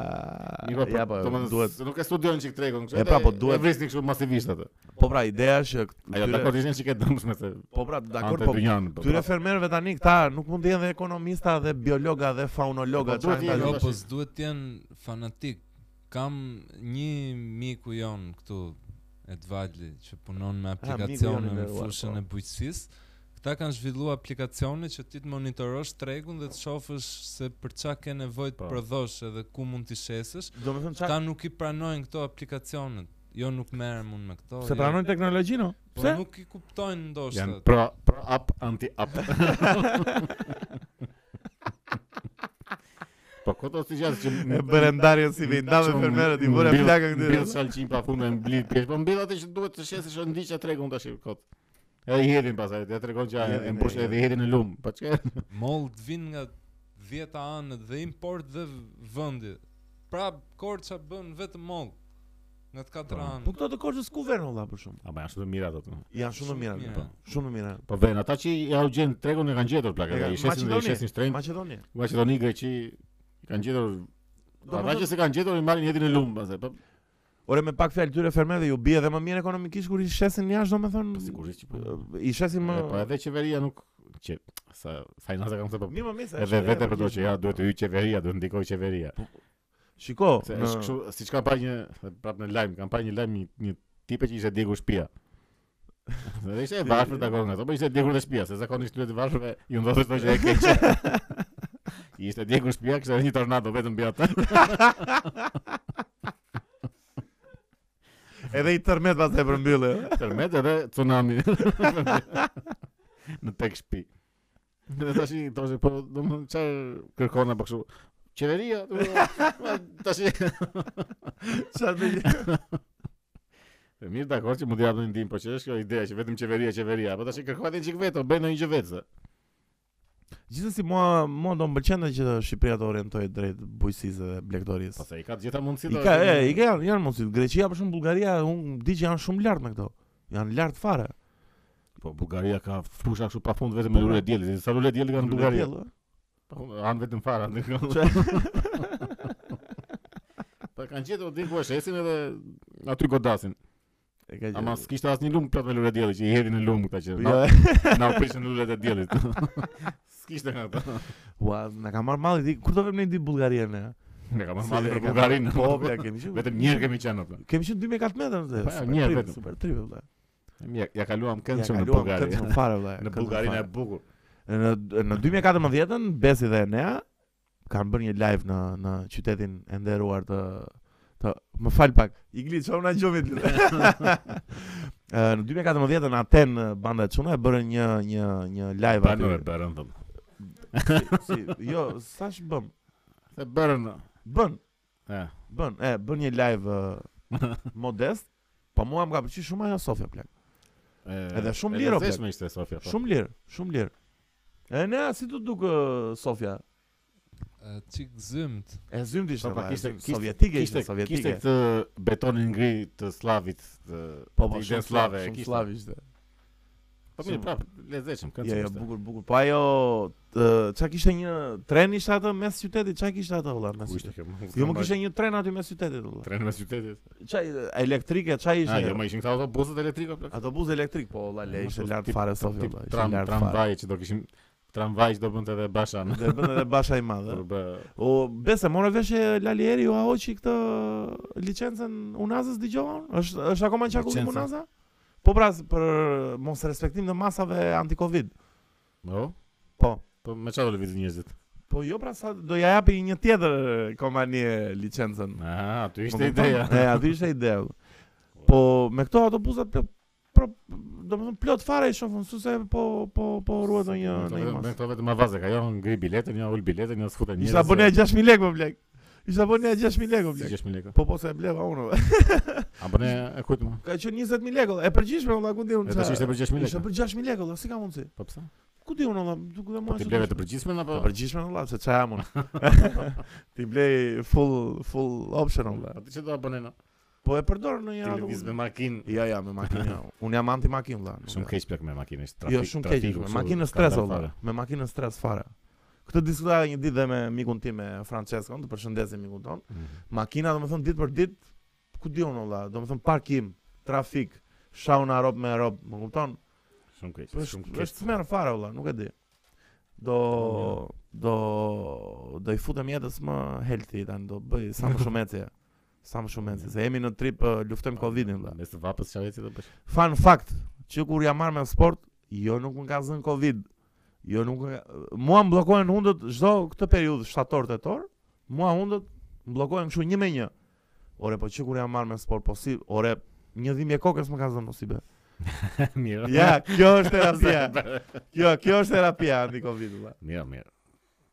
Mirë,
Ja po,
domethënë,
duhet.
se nuk e studion çik tregun kështu.
E pra,
edhe
po, duhet-
E vrisni kështu masivisht atë.
Po pra ideja është që
Ajo
këtyre-
dakord ishin çik e dëmshme se.
Po pra dakord
ante
po.
dynjan, po,
Këtyre
pra.
fermerëve tani këta nuk mund të jenë dhe ekonomista dhe biologa dhe faunologa
Po, duhet
çfarë
jenë,
ndaj.
Jo,
tash-
po s'duhet të jenë fanatik. Kam një miku jon këtu Edvaldi që punon me
Ah, miku jon i
aplikacione në
nderuar,
fushën
po.
e bujqësisë. Këta kanë zhvilluar aplikacione që ti të monitorosh tregun dhe të shofësh se për çka ke nevojë të
Po.
prodhosh edhe ku mund t'i shesësh.
Do me thënë
Këta
qa...
nuk i pranojnë këto aplikacionet. Jo nuk merrem unë me këto.
Se
jo.
pranojnë teknologjinë? o?
Po
Pse?
nuk i kuptojnë ndoshta.
Janë pra, pro, pro up, anti up. po këto si gjatë që
E bërë ndarjen si vejndave fermerët i bërë
këtyre.
plakën këtyre.
Mbill salçin pa fund e mblidh pjesë, po mbill atë që duhet të shesësh o ndiqja tregun tash kot. Edhe i hedhin pasaj, ja tregon që
Hedhin,
e mbush
e
edhe i hedhin në lum. Po çka?
Mold vin nga 10 anët dhe import dhe v- vendi. Prap Korça bën vetëm mold nga të katër
Po.
Po
anë.
këto të korçës ku vërnë valla për shumë.
Ama janë shumë të mira ato.
Janë shumë të
Shumë
mira,
mira.
po. Shumë të mira.
Po ven, ata që ja u gjen tregun e kanë gjetur plakë,
E ka-
i shesin dhe i
Maqedonia,
shesin shtrenjtë.
Maqedonia.
Maqedoni Greqi i kanë gjetur
Do
Ata
më
që
thënë,
se kanë gjetur i marrin jetin në lum pastaj. Po
ore me pak fjalë tyre fermerëve ju bie edhe më mirë ekonomikisht kur i shesin jashtë domethënë.
po sigurisht që po.
I shesin më
E, Po edhe qeveria nuk që sa financa kanë thënë po.
Mirë më mirë. se
Edhe
është-
vetë për to që ja duhet të hyj qeveria, duhet ndikoj qeveria.
Shiko,
Se
në-
është kështu, siç ka pa një prap në lajm, kanë pa një lajm një, një tipe që ishte djegur shtëpia. Dhe ishte e varfër dakon nga ato, po ishte djegur dhe shtëpia, se zakonisht luet e varfërve ju ndodhet kjo që e keq. ishte djegur shtëpia, kishte një tornado vetëm mbi atë.
edhe i tërmet pastaj përmbyllë.
Tërmet edhe tsunami. në tek shtëpi. Dhe tash i thoshte, po domethënë çfarë kërkon apo kështu. Qeveria, domethënë, tash i-
Çfarë bëj?
E mirë dakor që mund të japë ndim, po që është kjo ideja që vetëm qeveria, qeveria, po tash i kërkohet një çik vetë, o, bëj ndonjë gjë vetë. se.
Gjithsesi mua mua do m'pëlqen që Shqipëria të orientohet drejt bujqësisë dhe blegtorisë.
Pastaj Po i ka të gjitha mundësitë.
I
o,
ka
që-
e, i ka janë, janë mundësi. Greqia për shemb Bullgaria, unë di që janë shumë lart me këto. Janë lart fare.
Po Bullgaria ka fusha kështu pafund vetëm me lule dielli, sa lule dielli kanë në Bullgari.
Tjellë, ë.
Po han vetëm fara. atë kanë- Po kanë gjetur diku e shesin edhe aty godasin.
E ka
Ama s'kishte asnjë lumë plot me lule dielli që i hedhin në lumë këta që.
Jo,
na-
e,
Na u prishin lulet e diellit. S'kishte nga ato.
Ua, na ka marrë malli di. Kur do vëmë ne di Bullgarinë? ne?
Ne kam
Se
marrë
e
për
ka-
Bullgarinë.
Po, bla, kemi qenë.
Vetëm një herë kemi qenë apo.
Kemi qenë 2014 atë.
Po, një herë vetëm.
Super trip vëlla.
Mirë, ja kaluam
Ja,
këndshëm në
kaluam
Bullgari.
këndshëm fare vëlla.
Në
këndshëm
Bullgarinë e
fare.
bukur.
Në në 2014-ën Besi dhe Enea kanë bërë një live në në qytetin e nderuar të të më fal pak. I glit çon na gjomit. lutem. Ë, në 2014-ën Aten banda e çuna e bërën një një një live
Banë
aty.
e bërën Pra, thëmë.
Si, jo, sa sh bëm?
Se bërën.
Bën,
E.
bën, e bën një live ë, modest, po mua më ka pëlqyer shumë ajo Sofia plak. Edhe shumë lirë, o,
Rëndësishme ishte Sofia. po.
Shumë lirë, shumë lirë. E ne si të duk ë, Sofia?
E, Çik zymt.
E zymti ishte.
Po, pa,
valla,
kishte-
e zymt,
kishte-
sovjetike
Kishte
ishte, sovjetike.
Kishte këtë betonin ngri të slavit, të
Po
të
po,
idenë
shumë slave, shumë
kishte.
slave ishte.
Po mirë,
shumë.
prap, lezetshëm
Jo,
këndshëm.
jo,
ishte.
bukur, bukur. Po ajo të- çka kishte një tren ishte atë mes qytetit, çka kishte atë vëlla mes
Ku ishte
qytetit.
kjo?
Jo, më kishte një tren aty mes qytetit vëlla.
trenë mes qytetit.
Çaj elektrike, çaj
Ah, jo,
ishte.
më ishin këta autobusët elektrike plak.
Autobus elektrik, po vëlla, le
Mos
ishte
u
lart
tip-
fare Sofia
Tip
vëlla, ishte
tram,
lart jo, fare.
tramvaje që do kishim tramvaj që do bënte edhe Bashan.
Dhe bën edhe basha i
Kur
madhe.
bë
O besa morë vesh Lali Eri ju ahoqi këtë licencën Unazës dëgjova? unë? Është është akoma në çakullim
Licenca?
Unaza? Po pra s- për mos respektim të masave anti-covid.
Jo.
Po.
Po me çfarë do lëvizin njerëzit?
Po jo pra sa do ja japi një tjetër kompani licencën.
Ah, aty
Po,
ishte
kupton?
ideja.
E, aty ishte ideja. Po me këto autobusat plot pro, domethënë plot fare i shofën suse po po po ruhet në një në një
Me
mas.
këto vetëm avaze ka, jo ngri biletën, jo ul biletën, jo sfuten njerëz.
Isha bonë 6000 lekë po blek. Isha bonë 6000 lekë po blek.
6000 lekë.
Po po se e bleva unë. vë.
A bënë e kujt më?
Ka qenë 20000 lekë. valla. E përgjithshme valla ku di unë.
E tash
qa-
ishte për 6000
Ishte
lekë.
për 6000 lekë valla, si ka mundsi?
Po pse?
Ku di unë valla, duke dhe
Po
mua.
ti
ashtu
bleve
duke-
të përgjithshme apo?
Po përgjithshme valla, se çaja unë. Ti blej full full option valla.
Po ti çdo bënë në
Po e përdor në një
televiz me
autobus.
makinë.
Ja, ja, me makinë. Unë jam anti makinë valla. nuk e-
Shumë keq plak me makinë, është trafik.
Jo, shumë keq. është, Me makinën stres olla, me makinën stres fare. Këtë diskutova një ditë dhe me mikun tim me Franceskon, të përshëndesim mikun ton.
Mhm.
Makina, domethënë ditë për ditë, ku di unë olla, domethënë parkim, trafik, shauna rob me rob, më kupton?
Shumë keq.
Po
Shumë
Është
keq.
është smer fare olla, nuk e di. Do do do i futem jetës më healthy tani, do bëj sa më shumë ecje. Sa më shumë mendsi, se jemi në trip uh, luftojmë Covidin vëlla.
Mes të vapës çavecit do bësh.
Fun fact, që kur jam marrë me sport, jo nuk më ka zënë Covid. Jo nuk më ka... mua më bllokojnë hundët çdo këtë periudhë shtator tetor, mua hundët më bllokojnë kështu një me një. Ore, po që kur jam marrë me sport, po si, ore, një dhimje kokës më ka zënë po si be.
mirë.
Ja, kjo është terapia. Kjo, kjo është terapia anti Covid vëlla.
Mirë, mirë.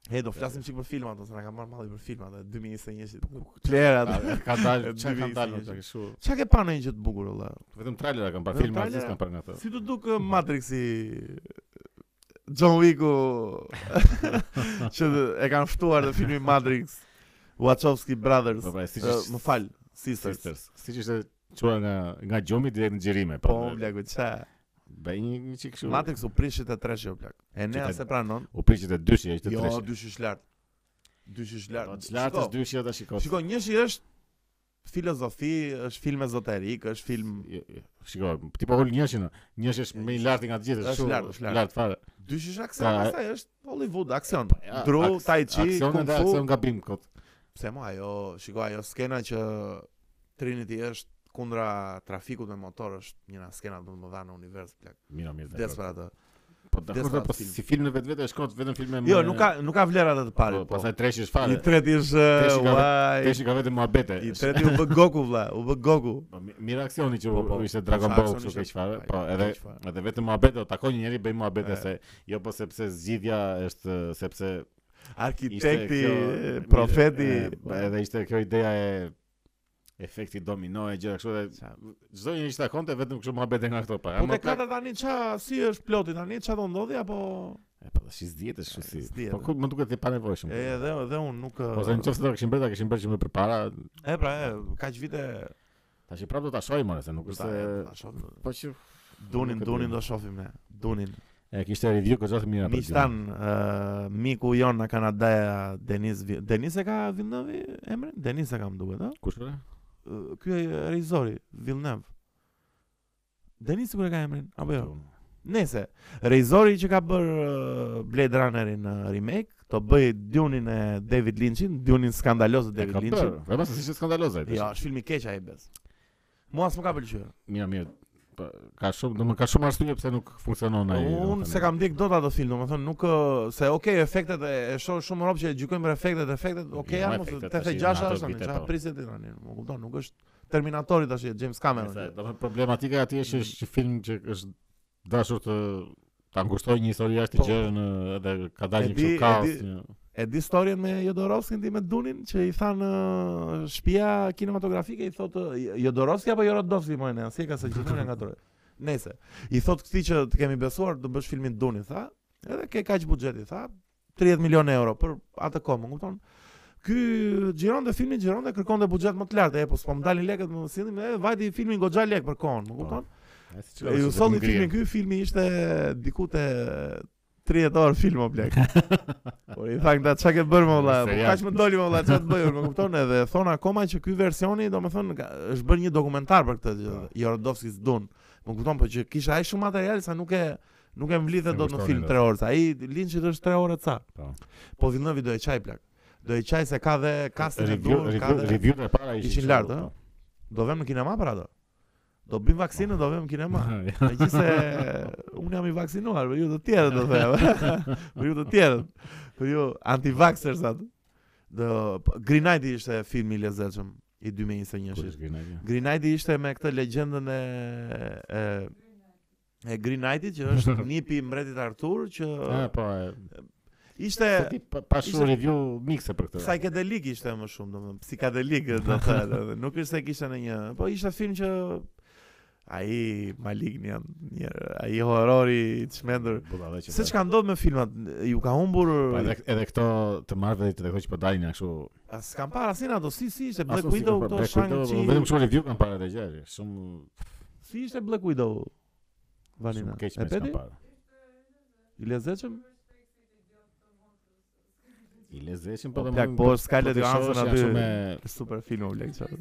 He, do flasim çik për filmat, ose na ka marrë malli për filmat e 2021-shit. Plera.
A, Ka dalë, çka ka
Dy
dalë
vizë,
çka kështu.
Çka ke pa në një gjë të bukur vëlla?
Vetëm trailera kanë parë,
Vetëm
filma asnjë
trailera.
kanë parë nga ato.
Si të duk eh, Matrixi John Wicku që dhe- e kanë ftuar në filmin Matrix Wachowski Brothers
Po pra, siç
Eh,
është-
më fal Sisters
Sisters. Siç ishte çuar nga nga gjomi direkt në xhirime,
po më blaku qa
Bëj një një çik kështu.
Matrix u prishit e treshi o plak e nea
Qytet-
se pranon
U priqet e dyshi, ishte
jo
treshi.
dyshish lart dyshish lart
Po çlartës
Shiko,
dyshi ata shikoj.
shiko njëshi është filozofi, është film ezoterik, është film
Jo, jo, Shiko, ti po ul njëshin. Njëshi është më i lartë nga të gjithë,
Është
kështu.
lart, është lart.
fare.
dyshish aksion,
Ka-
pastaj është Hollywood aksion.
Pra, ja,
Dru,
aks-
tai chi,
Aksion
kung
dhe
fu,
aksion gabim kot.
Pse mo ajo, shiko ajo skena që Trinity është kundra trafikut me motor është njëra skena më të mëdha në univers plak.
Mira, mirë. dakor.
Vdes për atë.
Po
vdes
dakor,
për
po
atë film.
si filmi vetvete është kot, vetëm filme.
Jo,
me-
nuk ka nuk ka vlera atë
Po,
të parit. Po,
pastaj treshi është
I
fare.
treti është
Treshi ka-
uaj.
Treshi ka vetëm muhabete.
I treti u bë Goku vlla, u bë Goku.
Po, mi- Mirë aksioni që
Po, po,
u- ishte Dragon
sa
Ball
aksioni
kështu keq
ishte-
fare,
Ai,
po edhe
keq fare.
edhe vetëm muhabete, o takon një njeri bëj muhabete
E.
se jo po sepse zgjidhja është eh, sepse ishte
Arkitekti,
kjo-
e, profeti.
e, po, edhe ishte kjo ideja e efekti domino e gjëra kështu dhe
Qa-
çdo njeri që takonte vetëm kështu muhabete nga këto pa. pra-
Po te katër tani qa si është ploti tani qa do ndodhi apo
E, Po tash zgjidhet kështu si.
Zgjidhet.
Po ku më duket e Po, panevojshëm.
e jo, edhe edhe un nuk e-
Ose nëse do kishim bërë, ta kishim bërë që më përpara,
e pra e kaq vite
tash i prapë do ta shohim ora se nuk është se-
Ta shohim.
po që
dunin
nuk e di.
dunin do shohim ne dunin
e kishte review këtë të mira për.
Miq tan, ë, miku jon në Kanada, Denis Vi- Denis e ka Villeneuve emrin? Denis e kam duhet, ë?
Kush ora?
Ë, Ky e regjizori Villeneuve. Denis kur e ka emrin apo jo? Nëse regjizori që ka bër ë, Blade Runnerin ë, remake, do bëj Dune-in e David Lynch-in, Dune-in skandaloz të
E
David
ka bërë.
Lynch-in.
Po mos është skandaloze.
Jo, është film i keq ai bes. Mua s'm ka pëlqyer.
Mira, mirë. Po, Ka shumë, do më ka shumë arsye pse nuk funksionon ai.
Unë
domethënë.
se kam ndjek dot atë film, domethënë nuk ë, se okay efektet e, e shoh shumë rrobë që e gjykojmë për efektet, efektet, okay,
Jo,
ja, mos
efektet
86
tash i
është
natë
tani, çfarë
po.
priset ti tani? Më kupton, nuk është Terminatori tash e James Cameron.
Se, Do të thotë problematika aty është që është një film që është dashur të ta ngushtojë një histori jashtë
Po.
gjërën ë, edhe ka dalë
E
një
di-
kështu
e
kaos.
di-
një-
E di historien me Jodorowskin ti me Dunin që i than ë, shtëpia kinematografike i thotë ë, Jodorowski apo Jorodowski më ne, si e ka se gjithmonë e ngatroj. Nëse i thotë këtij që të kemi besuar të bësh filmin Dunin, tha, edhe ke kaq buxheti, tha, 30 milionë euro për atë kohë, më kupton? Ky gjironte filmin, gjironte kërkonte buxhet më të lartë, e po s'po më dalin lekët, më sillim, e vajti filmin goxha lek për kohën, më kupton?
E, si që
E
është,
ju
vetëm
solli
ngrije.
filmin, ky filmi ishte diku te 30 orë film o blek. Por i tha këta çka ke bërë më valla, po
Serial.
kaq më doli më valla ç'a të bëj, unë, më kupton edhe thon akoma që ky versioni domethënë ka- është bërë një dokumentar për këtë gjë.
Po.
Jorodovski s'dun. Më kupton po që kisha ai shumë material sa nuk e nuk e mblidhet
Nuk
dot në
kushtonin
film
dot.
3 orë. sa Ai Lynchit është 3 orë ca.
Po.
Po Villeneuve do e çaj plak. Do e çaj se ka dhe kastin e
Review,
duhur, ka
review,
dhe
review e para ishin
ishin
kështu,
lart,
po.
ë? do vëmë në kinema për ato. Do bëjmë vaksinën, do vëmë në kinema.
po. Ja,
Me gjithë se unë jam i vaksinuar, për ju të tjerët do them. për ju të tjerët. Për ju anti-vaxxers atë. Do po, Green Knight ishte filmi i lezetshëm i
kur është
2021-shit.
Green Knight, ja.
Green Knight ishte me këtë legjendën e e e Green Knightit që është nipi i mbretit Artur që
Ah, po. e,
ishte
po ti po pa- pa shumë
ishte-
review mikse për këtë.
Psychedelic ishte më shumë, domethënë psikadelik do të thotë, nuk është se kishte në një, po ishte film që ai Malignian, njerë, ai horori i çmendur.
Budallë që
Se
bëhet.
çka ndodh me filmat, ju ka humbur
Po, Edhe edhe këto të marrëve dhe këto që po dalin janë kështu
as s'kam parë asnjë ato si si ishte
Ashtu
Black
si
Widow,
ka
këto
Black Widow, po, Vetëm
Shang-Chi.
shumë review kanë parë atë gjë. Shumë
Si ishte Black Widow? Vanina.
shumë keq
E
me
peti?
kanë parë.
I lezetshëm?
I lezetshëm
Po
po
plak, po është Scarlett Johansson aty.
Me,
Super film o Black çfarë.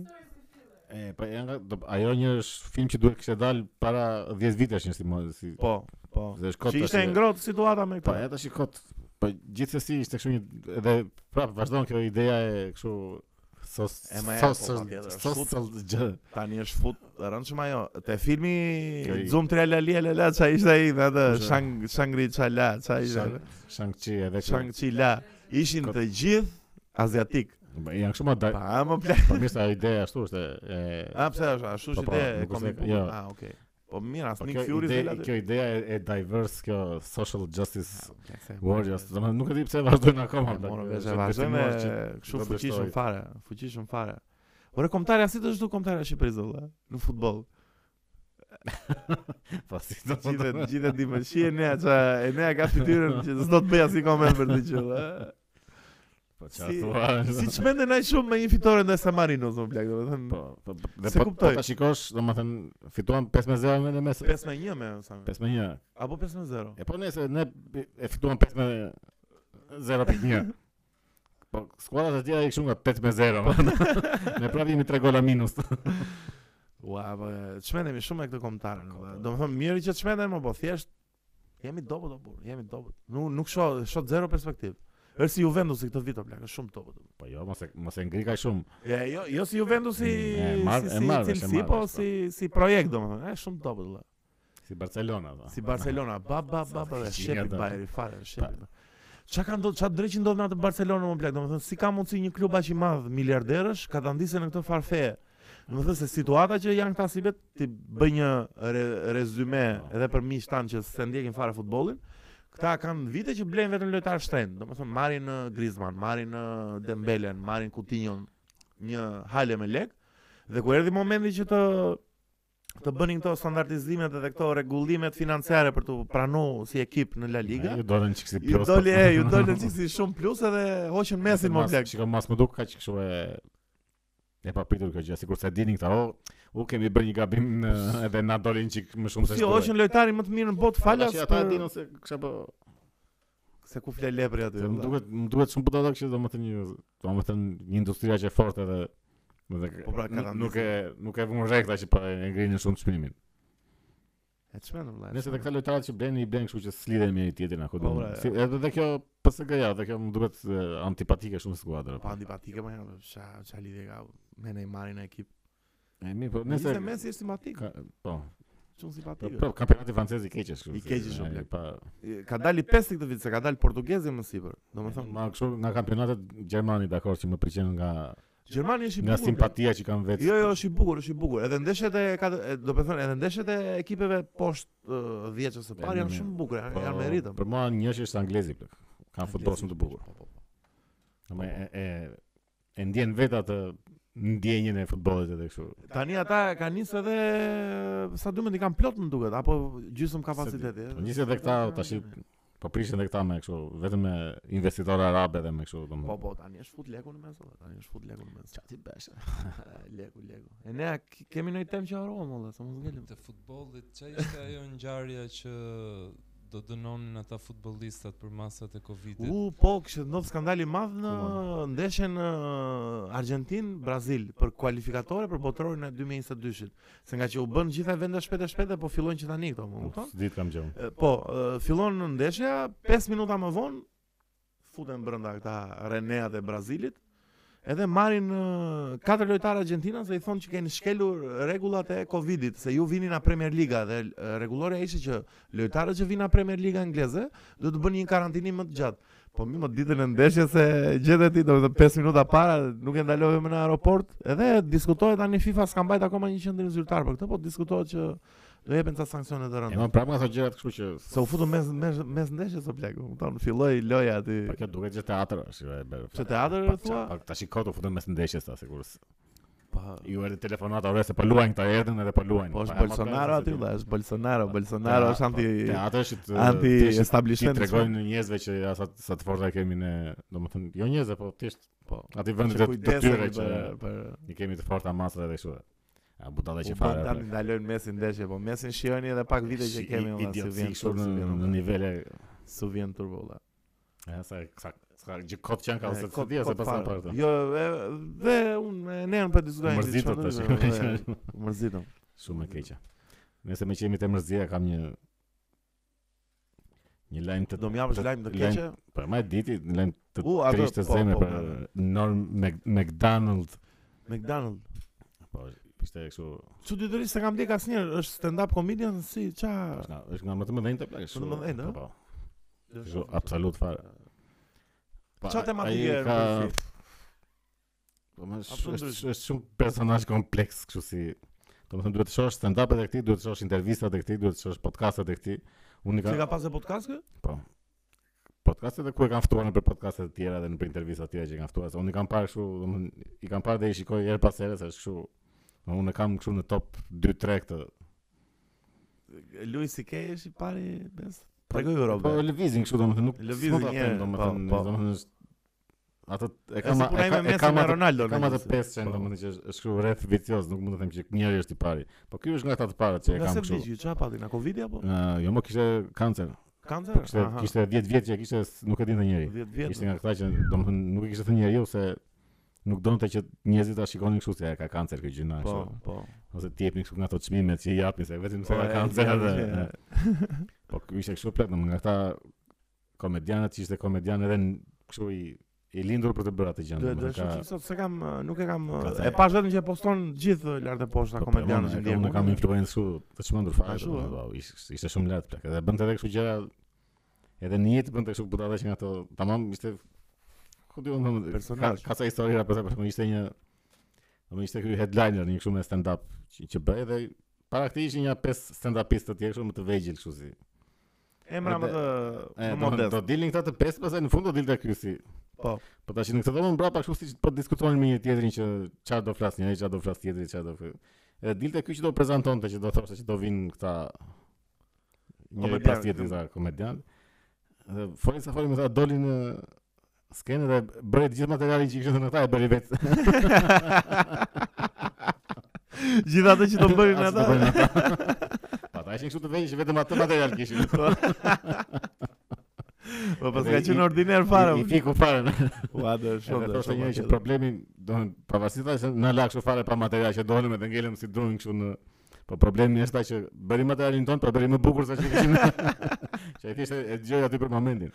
e, po janë nga- do- ajo një është film që duhet kishte dalë para 10 vitesh një si mo- si.
Po, po.
Dhe është kot.
Që ishte
tash-
e ngrohtë situata me
Po
këtë.
ja tash i kot. Po gjithsesi ishte kështu një edhe prap vazhdon kjo ideja e kështu Sos
E ma e,
sos
po,
sos
patjetër, është
sos
fut.
sos gjë.
Tani është fut rëndshëm ajo. Te filmi
Jo, i-
Zoom 3 la la la la ça ishte ai me atë
Kush e?
Shang Shangri-Cha la ça ishte.
Shang-Chi edhe shang
Shang-Chi la. Ishin të gjithë aziatik.
janë kështu më da.
Pa më plak.
Po mirë se ajo ide ashtu është e
A pse është ashtu
Po,
si
po,
te
nuk është
komik.
e- jo.
Ah, okay. Po mirë, as
Po
Nick
kjo
Fury
ide,
se la.
kjo ideja e, e diverse kjo social justice
po,
warriors,
Warriors.
domethënë nuk e di pse vazhdojnë akoma.
Po
plak, është
morëm vesh vazhdojmë
besimuar që
kështu
do
fuqishëm
beshtoj.
fare, fuqishëm fare. Ora komtarja si të është komtarja e Shqipërisë valla në futboll.
Po si do të
Gjithë gjithë di po, më shi e nea ça e nea ka fytyrën që s'do të bëj asnjë koment për të qenë.
Po
si-
çfarë?
Si çmenden ai shumë me një fitore ndaj San Marinos në plak, domethënë
Po, po, po, dhe
Se
po, po
kuptoj.
ta shikosh, domethënë fituan 5-0 me në mes.
5 në 1 me sa.
5-1.
Apo 5 në 0.
E po nëse ne e fituan 5-0 0.1. Po skuadrat e tjera i kështu nga 8-0. Ne prapë jemi 3 gola minus.
Ua, po e, çmendemi shumë me këtë kombëtarën. valla. Domethënë mirë që çmenden, mo, po thjesht jemi dobët o burr, jemi dobët. Nuk nuk shoh shoh zero perspektivë. Është si Juventusi këtë vit o plak, është shumë dobët.
Po jo, mos e mos e ngri kaq shumë.
Ja, jo, jo si Juventusi
Mm, e marr-
si,
e
si
marrë,
cilësi,
e marrë,
po
po.
si si projekt domethënë, është shumë dobët valla.
Si Barcelona po. do.
Si Barcelona, ba ba ba ba, dhe
Gjinja
shepi
do.
Bajeri fare, shepi. ba. Çka ka ndodhur, çka drejtë ndodh në atë Barcelona më plak, domethënë si ka mundsi një klub aq i madh miliarderësh ka ta ndisë në këtë farfe. Domethënë se situata që janë këta si vet ti bëj një re, rezume
Po.
edhe për miq tan që se ndjekin fare futbollin. Këta kanë vite që blejnë vetëm lojtar shtrenjtë, domethënë marrin ë, Griezmann, marrin ë, Dembele, marrin Coutinho, një hale me lek dhe kur erdhi momenti që të të bënin këto standardizimet edhe këto rregullimet financiare për të pranuar si ekip në La Liga.
Ju dolën çik si
Ju
plus.
doli e, ju doli që si shumë plus edhe hoqën mesin më plak.
Shikoj mas më duk kaq kështu e e papritur kjo gjë, sikur se dinin këta, o, u kemi bërë një gabim në, edhe na dolin çik më shumë se
Po Si hoqën lojtarin më të mirë në botë falas
Që ata e
për
dinë ose kësha po
se ku fle lepri aty.
Se më
valla.
duket më duket shumë budallak që domethënë një domethënë një industria që e fortë edhe më dhe
Po pra, ka
nuk-
rëndësi.
nuk e nuk e vënë rrekta që po e ngrinin shumë çmimin.
E çmend vëllai.
Nëse të këta lojtarët që blenë i blenë kështu që s'lidhen me njëri tjetrin ako
Po,
do.
pra,
Si edhe dhe kjo PSG-ja, dhe kjo më duket e, antipatike shumë skuadra.
pa po, antipatike më janë, ça ça lidhje ka me Neymarin në ekip.
E mirë, po
Nëse
nëse
Messi është simpatik,
ka, po,
shumë
po,
simpatik.
po kampionati francez i keq është kështu.
I keq është
e,
shumë, blek.
Pa, pra,
Ka dali 5 këtë vit, se ka dali portugezi më sipër. Domethënë
ma kështu nga kampionatet Gjermani dakor që më pëlqen nga
Gjermani është i
nga
bukur. plak.
simpatia që kanë vetë.
Jo, jo, është i bukur, është i bukur. Edhe ndeshjet e ka do të thonë, edhe ndeshjet e ekipeve poshtë ë, 10 ose parë janë
mirë.
shumë bukura, janë,
Po,
janë me ritëm.
Për mua një është anglezi plak. Ka futboll shumë të bukur.
Po, po, po.
Ama e, e, e ndjen vetë atë ndjenjën e futbollit edhe kështu.
Tani ata ka nisë edhe sa duhet i kanë plot më duket apo gjysmë kapaciteti.
Po njëse edhe këta
ναι,
tash i- po prishin edhe këta me kështu, vetëm me investitorë arabe dhe me kështu domethënë.
Po, po, tani është fut leku në mes, valla, tani është fut leku në mes. Çati bash. leku, leku. E ne a k- kemi ndonjë temë që harruam valla, sa mos ngelim.
Te futbollit, që ishte ajo ngjarja që do dënonin ata futbollistat për masat e Covidit?
U, po, kështë ndodhë skandal i madh në
Ku
ndeshjen në Argentinë-Brazil për kualifikatore për botërorin e 2022-shit. Se nga që u bën gjitha vende shpejt e shpejt dhe po fillojnë që tani këto, më
Nuk
kupton?
s'dit kam gjë.
E, Po, e, fillon në ndeshja, 5 minuta më vonë futen brenda këta Renea dhe Brazilit. Edhe marrin e, katër lojtarë Argentinës dhe i thonë që keni shkelur rregullat e Covidit, se ju vini na Premier Liga dhe e, rregulloria ishte që lojtarët që vinë në Premier Liga angleze do të bënë një karantinim më të gjatë. Po mi më ditën e ndeshjes se gjetë ti do të 5 minuta para nuk e ndalove më në aeroport. Edhe diskutohet tani FIFA s'ka mbajt akoma një qendrim zyrtar për këtë, po diskutohet që do jepen ca sanksionet të
E
rënda.
më prapë nga ato gjërat kështu që
Se u futu mes mes mes ndeshjes o plak, u kupton, filloi loja aty.
Pa kjo duket që teatr është, jo e bërë.
Që teatër,
Pa-
thua?
Pa tash i koto futën mes ndeshjes ta sigurisht.
Po.
Ju erdhi telefonata, ore se po luajnë këta erdhën edhe po luajnë.
Po
Pa,
është
e, ma
Bolsonaro
prapë,
aty,
se di.
valla, është Bolsonaro, Bolsonaro
Tea-
është anti
po, teatri është të-
anti
thjesht Ti
establishment.
tregojnë njerëzve që ja, sa sa të forta kemi ne, domethënë jo njerëzve, po thjesht
po.
aty vendet
Që
të të tyre
kujdesemi
që
për- për
i kemi të forta masa edhe kështu. A budalla që
U bën
fare.
tani ndalojnë mesin ndeshje, po mesin shihoni edhe pak vite që kemi valla, si vjen
kështu
turbo,
në
si vjen,
në
valla.
nivele
Su vjen turbo valla.
e, sa sa sa gjë kot që janë ka
E,
ose të
Eh, kot-
dia se
kot
pasan
fare.
për atë.
Jo, e- dhe unë e, ne unë po diskutojmë.
Mërzitet
çfarë
tash.
do të bëjmë, e, Mërzitem.
Shumë e keqe. Nëse më qemi të mërzia kam një një lajm të
Do më japësh
të-
lajm të
lajm-
keqe?
Po më e diti, lajm të
U, atë,
trishtë
po,
zemre
po,
për
po.
Norm Mac- McDonald.
McDonald.
Po, ishte kështu,
Çu ti se kam dek asnjëherë, është stand up comedian si ça.
është nga është nga më të mëdhenjtë plagë.
Më të mëdhenjtë, ëh?
Po, kështu Jo, absolut fare. Po,
Çfarë
ai-
tematike
ai ka-
e ka...
Po, më sh-
Absolut
është
ndryshe.
është shumë personazh kompleks, kështu si domethënë duhet të shohësh stand-upet e këtij, duhet të shohësh intervistat e këtij, duhet të shohësh podcastet e këtij. Unë i
Se ka
ka
pasë podcast kë?
po. Podcastet e ku e kanë ftuar nëpër podcaste të tjera dhe nëpër intervista të tjera që i kanë ftuar. se Unë i kam parë kështu, domethënë i kam parë dhe i shikoj her pas here se është kështu. Domethënë unë e kam kështu në top 2-3 këtë. Po,
Louis C.K. është i pari bes. Tregoj Robe.
Po lëvizin kështu domethënë nuk
Lëvizin
s'mund ta
një
them,
herë,
domethënë
po, po.
domethënë është- atë e
Ka
kam
si puna
e
ime
kam e
mesme
kam
me
atë
Ronaldo.
Kam
në
atë
mesë.
5 qenë,
Po.
domethënë që është- është kështu rreth vicioz, nuk mund të them që njëri është i pari. Po ky është nga ata të parët që e
Nga
kam
se
kështu.
vdiqi, çfarë pati, na Covid apo?
Ë, jo, më kishte kancer.
Kancer?
Po kishte kishte 10 vjet që e kishte, s- nuk e dinte njëri.
10
Ishte
vjet.
nga këta që domethënë nuk e kishte thënë njeriu se nuk donte që njerëzit ta shikonin kështu se e ka kancer ky gjëna
Po,
kështu.
po.
Ose të jepnin kështu nga ato çmimet që i japin se vetëm se
Po,
ka
e,
kancer
e,
edhe.
e.
e. Po ky ishte kështu plot domethënë nga këta komedianët që ishte komedian edhe në- kështu i i lindur për të bërë atë gjë.
Do
domethënë,
të
ka-
shoh sot se kam uh, nuk e kam uh,
Ka
e
thënë.
pash vetëm që e poston gjithë lart e poshta
Po, po,
komedianët që
unë-
ndjekin.
Unë kam influencë kështu të çmendur fare.
Ashtu,
domethënë,
a?
vau, ish- Ishte shumë lart plak. Edhe bënte edhe kështu gjëra edhe në jetë bënte kështu butata që nga ato tamam ishte ku diun domethënë ka
Personazh.
ka sa historira për për ishte një domethënë ishte ky headliner një kështu me stand up që, që bëi dhe para këtij ishin një pesë stand upistë të tjerë kështu më të vegjël kështu si.
Emra më
Edhe-
të
E,
më
do, do
modest.
dilin këta të pesë, pastaj në fund do dilte ky si.
Po.
Po tash në këtë domon brapa kështu si po diskutonin me një tjetrin që çfarë do flas njëri, çfarë do flas tjetri, çfarë do. fl- Edhe dilte ky që do prezantonte që do thoshte që do vinë këta
Po,
një
Komedian,
pas tjetrit këta komedian. Dhe foli sa foli më tha dolin në skenë dhe bëri të gjithë materialin që kishte në ata e bëri vetë.
Gjithatë që do bërin
Asë
ata.
do bërin ata. Po ata ishin kështu të vënë që vetëm atë material kishin.
Po pas
Edhe
ka
i-
qenë ordiner fare. po.
I, i fiku fare.
Ua do
Shumë
shumë.
dhe
do,
thoshte
shumë
njëri që
atje, do.
problemi, do në pavarësisht se na la kështu fare pa material që dolëm edhe ngelëm si drurin kështu në Po problemi është ta që bëri materialin ton, po bëri më bukur sa që kishim. që ai thjesht e e dëgjoj aty për momentin.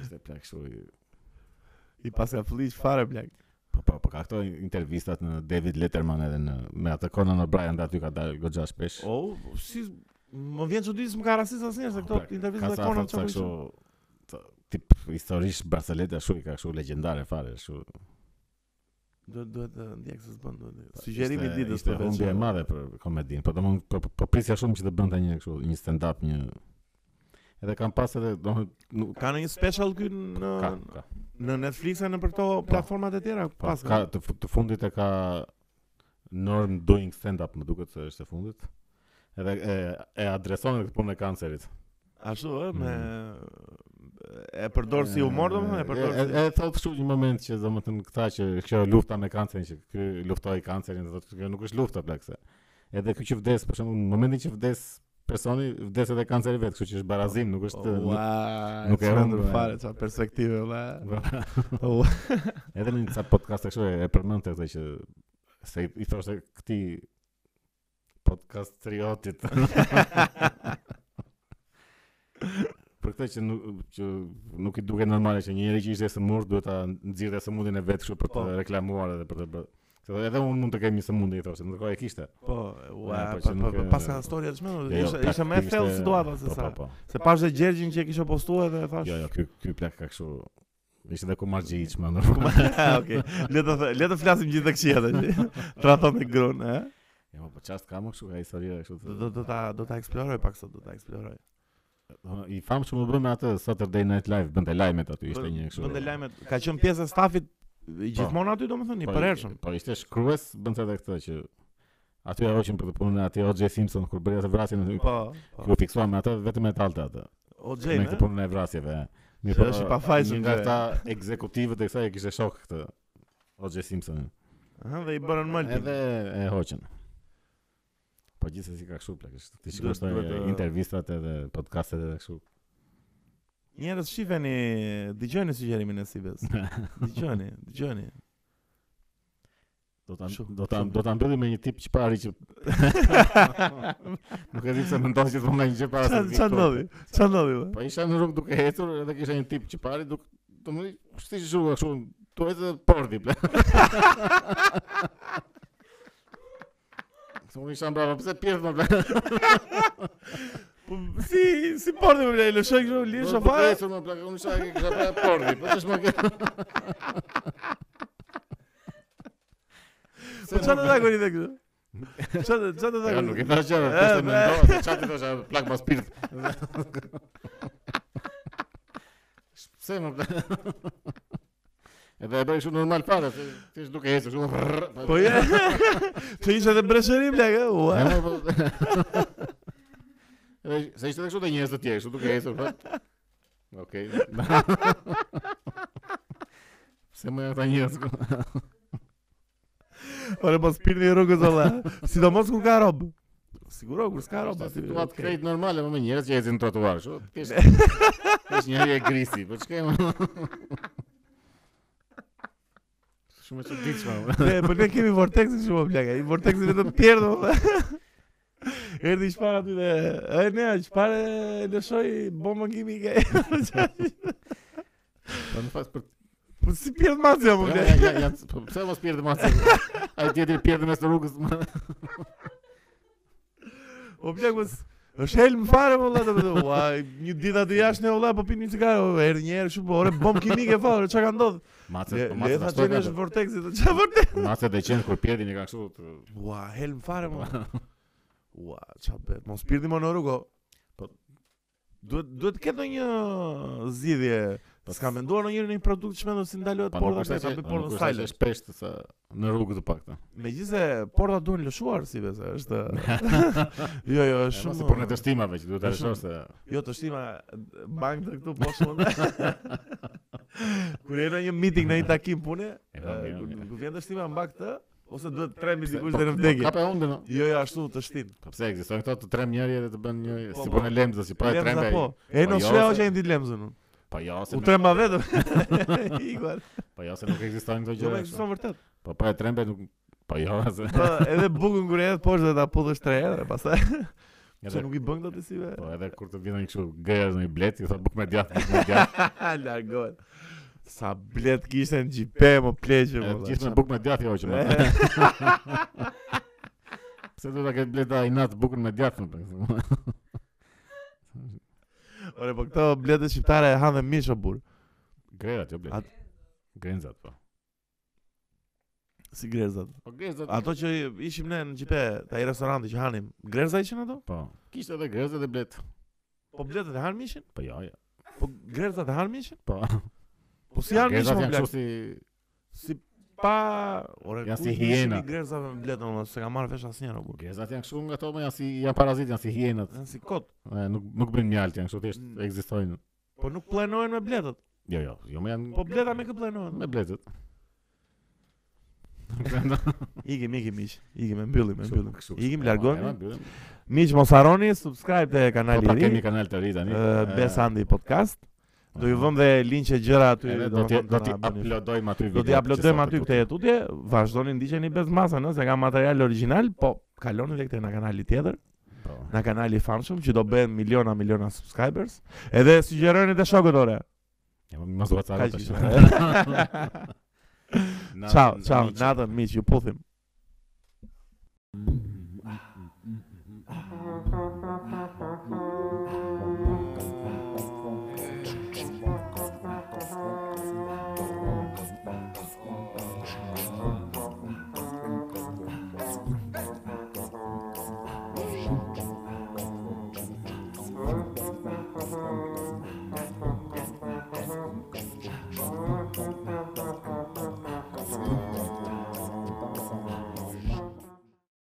Ishte plak kështu. i-
I pas ka fillish fare blek.
Po po, po ka këto intervistat në ε, David Letterman ε, edhe në me atë Conan O'Brien dhe aty ka dalë goxha shpesh.
Oh, si më vjen çudi se më ka rastis asnjëherë se
Po,
këto
plak, Ka
intervistat e
sa
kona
thotë sa
çfarë
kështu
ishin.
të- tip historisht Barceleta kështu i ka kështu legjendare fare kështu.
Duhet duhet të ndjek se s'bën duhet. Sugjerimi i ditës
Po, ishte humbje e madhe për komedinë. Po domthon po, po, po prisja shumë që të bënte një kështu një stand up një edhe kam pas edhe domthon nuk
Ka në një special ky Po, në
ka ka.
në Netflix në për këto platformat e tjera
Po,
pas
ka të, fu- të fundit e ka Norm doing stand up, më duket se është e fundit. Edhe e, e adreson këtë punë e kancerit.
Ashtu ë me e përdor si humor domethënë e përdor
Mm. E, e,
si
e thotë kështu një moment që domethënë këta që kjo lufta me kancerin që ky luftoi kancerin, dhe thotë kjo nuk është lufta plakse. Edhe ky që vdes, për shembull, në momentin që vdes personi, vdes edhe kanceri vet, kështu që është barazim, nuk është nuk-
Ua,
nuk e
çmendur
humbë, e.
fare çfarë perspektive valla.
Po. Edhe në disa podcast kështu e- e përmendte këtë që se i- i thoshte këtij podcast triotit. Për këtë që nuk që nuk i duket normale që një njerëz që ishte smur duhet ta nxirrte sëmundjen e vet kështu për
Po.
të reklamuar edhe për të bërë. Se edhe unë mund të kem një sëmundje i thoshte, ndërkohë e kishte.
Po,
Ja,
ua,
po,
pa-
që
pa-
nuk
pa-
e-
pas ka histori të çmendur,
Jo, jo,
ishte
plak,
ishte më e
ky
thellë
ishte-
situata se
po,
sa.
Po, po.
Se pash dhe Gjergjin që e kisha postuar dhe thash.
Jo, jo, ky ky plak ka kështu ishte edhe kumarxhi i çmendur.
Okej. Le të thë- le të flasim gjithë të këqija tash. Tradhon me eh? grun, ë?
Jo, po çast ka më kështu ka historira kështu. të-
Do do do ta do ta eksploroj pak sot, do ta eksploroj.
Domethënë, I famë që më bëmë atë Saturday Night Live, bënte lajmet aty, ishte një kështu.
Bënte lajmet. Ka qenë pjesë e stafit gjithmonë aty domethënë, i
Po,
përhershëm.
Po ishte shkrues, bënte edhe këtë që aty e hoqën për të punën aty O.J. Simpson kur bëri atë vrasjen aty.
Po. po.
Ku fiksuam me atë vetëm me talte atë.
O
Me
Jane.
këtë po-
ë?
punën e vrasjeve. e. Mirë,
Që eh? është i pafajshëm,
një nga
që-
këta ekzekutivët e kësaj e kishte shok këtë O.J. Simpson.
Aha, dhe i bërën
Edhe
mëltin.
e hoqën. Po gjithsesi ka kështu plak, është. ti
Duhet-
shikosh tani,
duhet të-
intervistat edhe podcastet edhe kështu.
Njerëz shifeni, dëgjoni sugjerimin e Sibes. Dëgjoni, dëgjoni.
Do ta
Shumë,
do ta
shumë.
do ta mbyllim me një tip çpari që Nuk e di pse mendon që do nga një gjë para se
Çan
të vi
çan
këtu.
ndodhi? Çan ndodhi? vë?
Po isha në rrugë duke ecur edhe kisha një tip që pari duk domethënë, kështu si zhuga kështu, to edhe porti ble. Këtu unë isha brava, pse pjesë më ble.
Po si si porti më lë shoj kështu lirë
Po, po,
shofare.
pjesë më no, ble, unë isha ke kisha pra porti, po tash më ke.
Po çfarë do ta gjeni tek këtu? Çfarë çfarë do ta
Ja, nuk e
gjeni?
thash gjëra,
E,
pas të
be.
mendova se çfarë të thosha, plak pas pirt. Pse më ble. Edhe e bëj shumë normal fare, se ti duke ecur shumë. pues,
Po je. Ti ishe të breshëri bla, e, ua.
E, mo, po- Edhe se ishte edhe kështu të njerëz të tjerë, kështu duke ecur. po. Okej. Pse më janë ata njerëz? ku?
Ore po spirni rrugës valla. Sidomos kur ka rob. Siguro kur s'ka rob
Është
aty.
situatë
okej.
krejt normale, më me njerëz që ecin në trotuar, kështu. Thjesht thjesht njëri e grisi, po çka më. Shumë e çuditshme. mo.
Ne, po ne kemi vortexin shumë o plaka. I vortexi vetëm pjerdhë. valla. Erdi çfarë aty dhe e ne çfarë lëshoj bombën kimike.
Po në fakt për
Po si pjerdh macja më
Ja,
bla.
ja, ja, ja, po pse mos pierdhë masë? Ai tjetri pierdhë mes rrugës. mo.
O plak Po, mos Është helm fare më vëlla, do ua, një ditë aty jashtë ne vëlla po pinim cigare, o, herë një herë shumë, po, ore bomb kimike fare, çka ka ndodhur?
Macet, po
Le
macet.
ta
ashtu e
çelësh
kanë.
vortexi, do çfarë vortex?
Macet e qenë kur pierdhin e kanë kështu. të-
Ua, helm fare më. Ua, çfarë bëhet? Mos pirni më në rrugë. o. Po duhet duhet të ketë një zgjidhje.
Po,
S'ka menduar ndonjëherë në një produkt çmendur si ndalohet
Po nuk është
porta ta
se
bëj
nuk
portën
është se
silent.
shpesht sa në rrugë të paktën.
Megjithëse porta duhen lëshuar si besa, është Jo, jo, është
Shumë
shumë.
si por në të shtimave që duhet ta
është
shoh
shumë-
se
Jo, të shtima bank të këtu po shumë. Kur e në një meeting në një takim pune,
E, po,
eh,
mirë,
kur
mirë. po,
kur vjen të shtima mba këtë, ose duhet të tremi dikush dhe në vdekje.
Kape hundën. no.
Jo, jo, ashtu të shtin.
Po pse ekzistojnë këto të trem njëri edhe të bën një
Po,
si
po.
po në lemzë, si pa e
Lemza
trembe.
po. E
Po,
në
jo,
shvea
se-
që e në ditë lemzën unë.
Po jo se
U
nuk-
trema vetëm. Igor.
po jo se nuk ekzistojnë këto
Jo,
gjëra.
me
kështu.
kështë vërtet.
Po pa e trembe nuk po jo se.
Po, edhe bukën kur e jetë poshtë dhe ta pudhësh tre herë, dhe pastaj
Edhe,
që nuk i bën këtë të si be.
po edhe kur të vjen kështu gëja në një blet, i thotë buk me djathtë, buk me djathtë.
Largohet. Sa blet kishte në gjipe, më pleqe,
E,
më. valla.
Gjithmonë buk me djathtë jo që më. Pse do ta ketë bleta i natë bukën me djathtë? më?
Ore, po këto bletë shqiptare e hanë dhe mish o burr.
Grerat jo blet.
At-
Grenzat po.
Si grezat.
Po grenzat.
Ato që ishim ne në gjipe, ta i restoranti që hanim, greza ishin ato?
Po. Kishte edhe grenzat e blet.
Po bletët e hanë mishin?
Po jo, jo.
Po grezat e hanë mishin?
Po.
Po si hanë mishin,
Grenzat
më
janë
blek?
kështu si
Si pa... Ore,
Janë
ku
si
ishin i
hiena.
Grezave me bletën, më se ka marrë vesh asnjëra, po.
Grenzat janë kështu nga ato më janë si janë parazit, janë si hienat.
Janë si kot,
E, Nuk nuk bëjnë mjalt, janë kështu thjesht
Mm.
ekzistojnë.
po nuk plenohen me bletët.
Jo, jo, jo më janë
Po bleta me kë plenohen.
me bletët.
Ikim, ikim miq. Ikim e mbyllim, e mbyllim.
Kështu, kështu.
Ikim
Po, e,
largoni.
mbyllim.
Miq mos harroni subscribe te
Po
kanali
ta
i ri.
kemi kanal të ri tani.
ë,
E,
Pra Bes Andi podcast. Do ju vëm dhe linqe gjëra aty.
Edhe do
domethënë,
t'i do
na
t'i
bëni
uploadojmë aty
Do t'i
videot që
uploadojmë
sot
aty
e
këtë tutje, vazhdoni ndiqeni bez masa, nëse ka material origjinal, po kaloni edhe këtë në kanali tjetër,
putin. Po.
në kanali i famshëm që do bëhen miliona miliona subscribers. Edhe sugjerojeni te shokët ore.
Ja, po, mos duhet
Kaq
të
ishte.
Na-
Ciao,
na-
ciao,
miqë.
natën miq, ju puthim.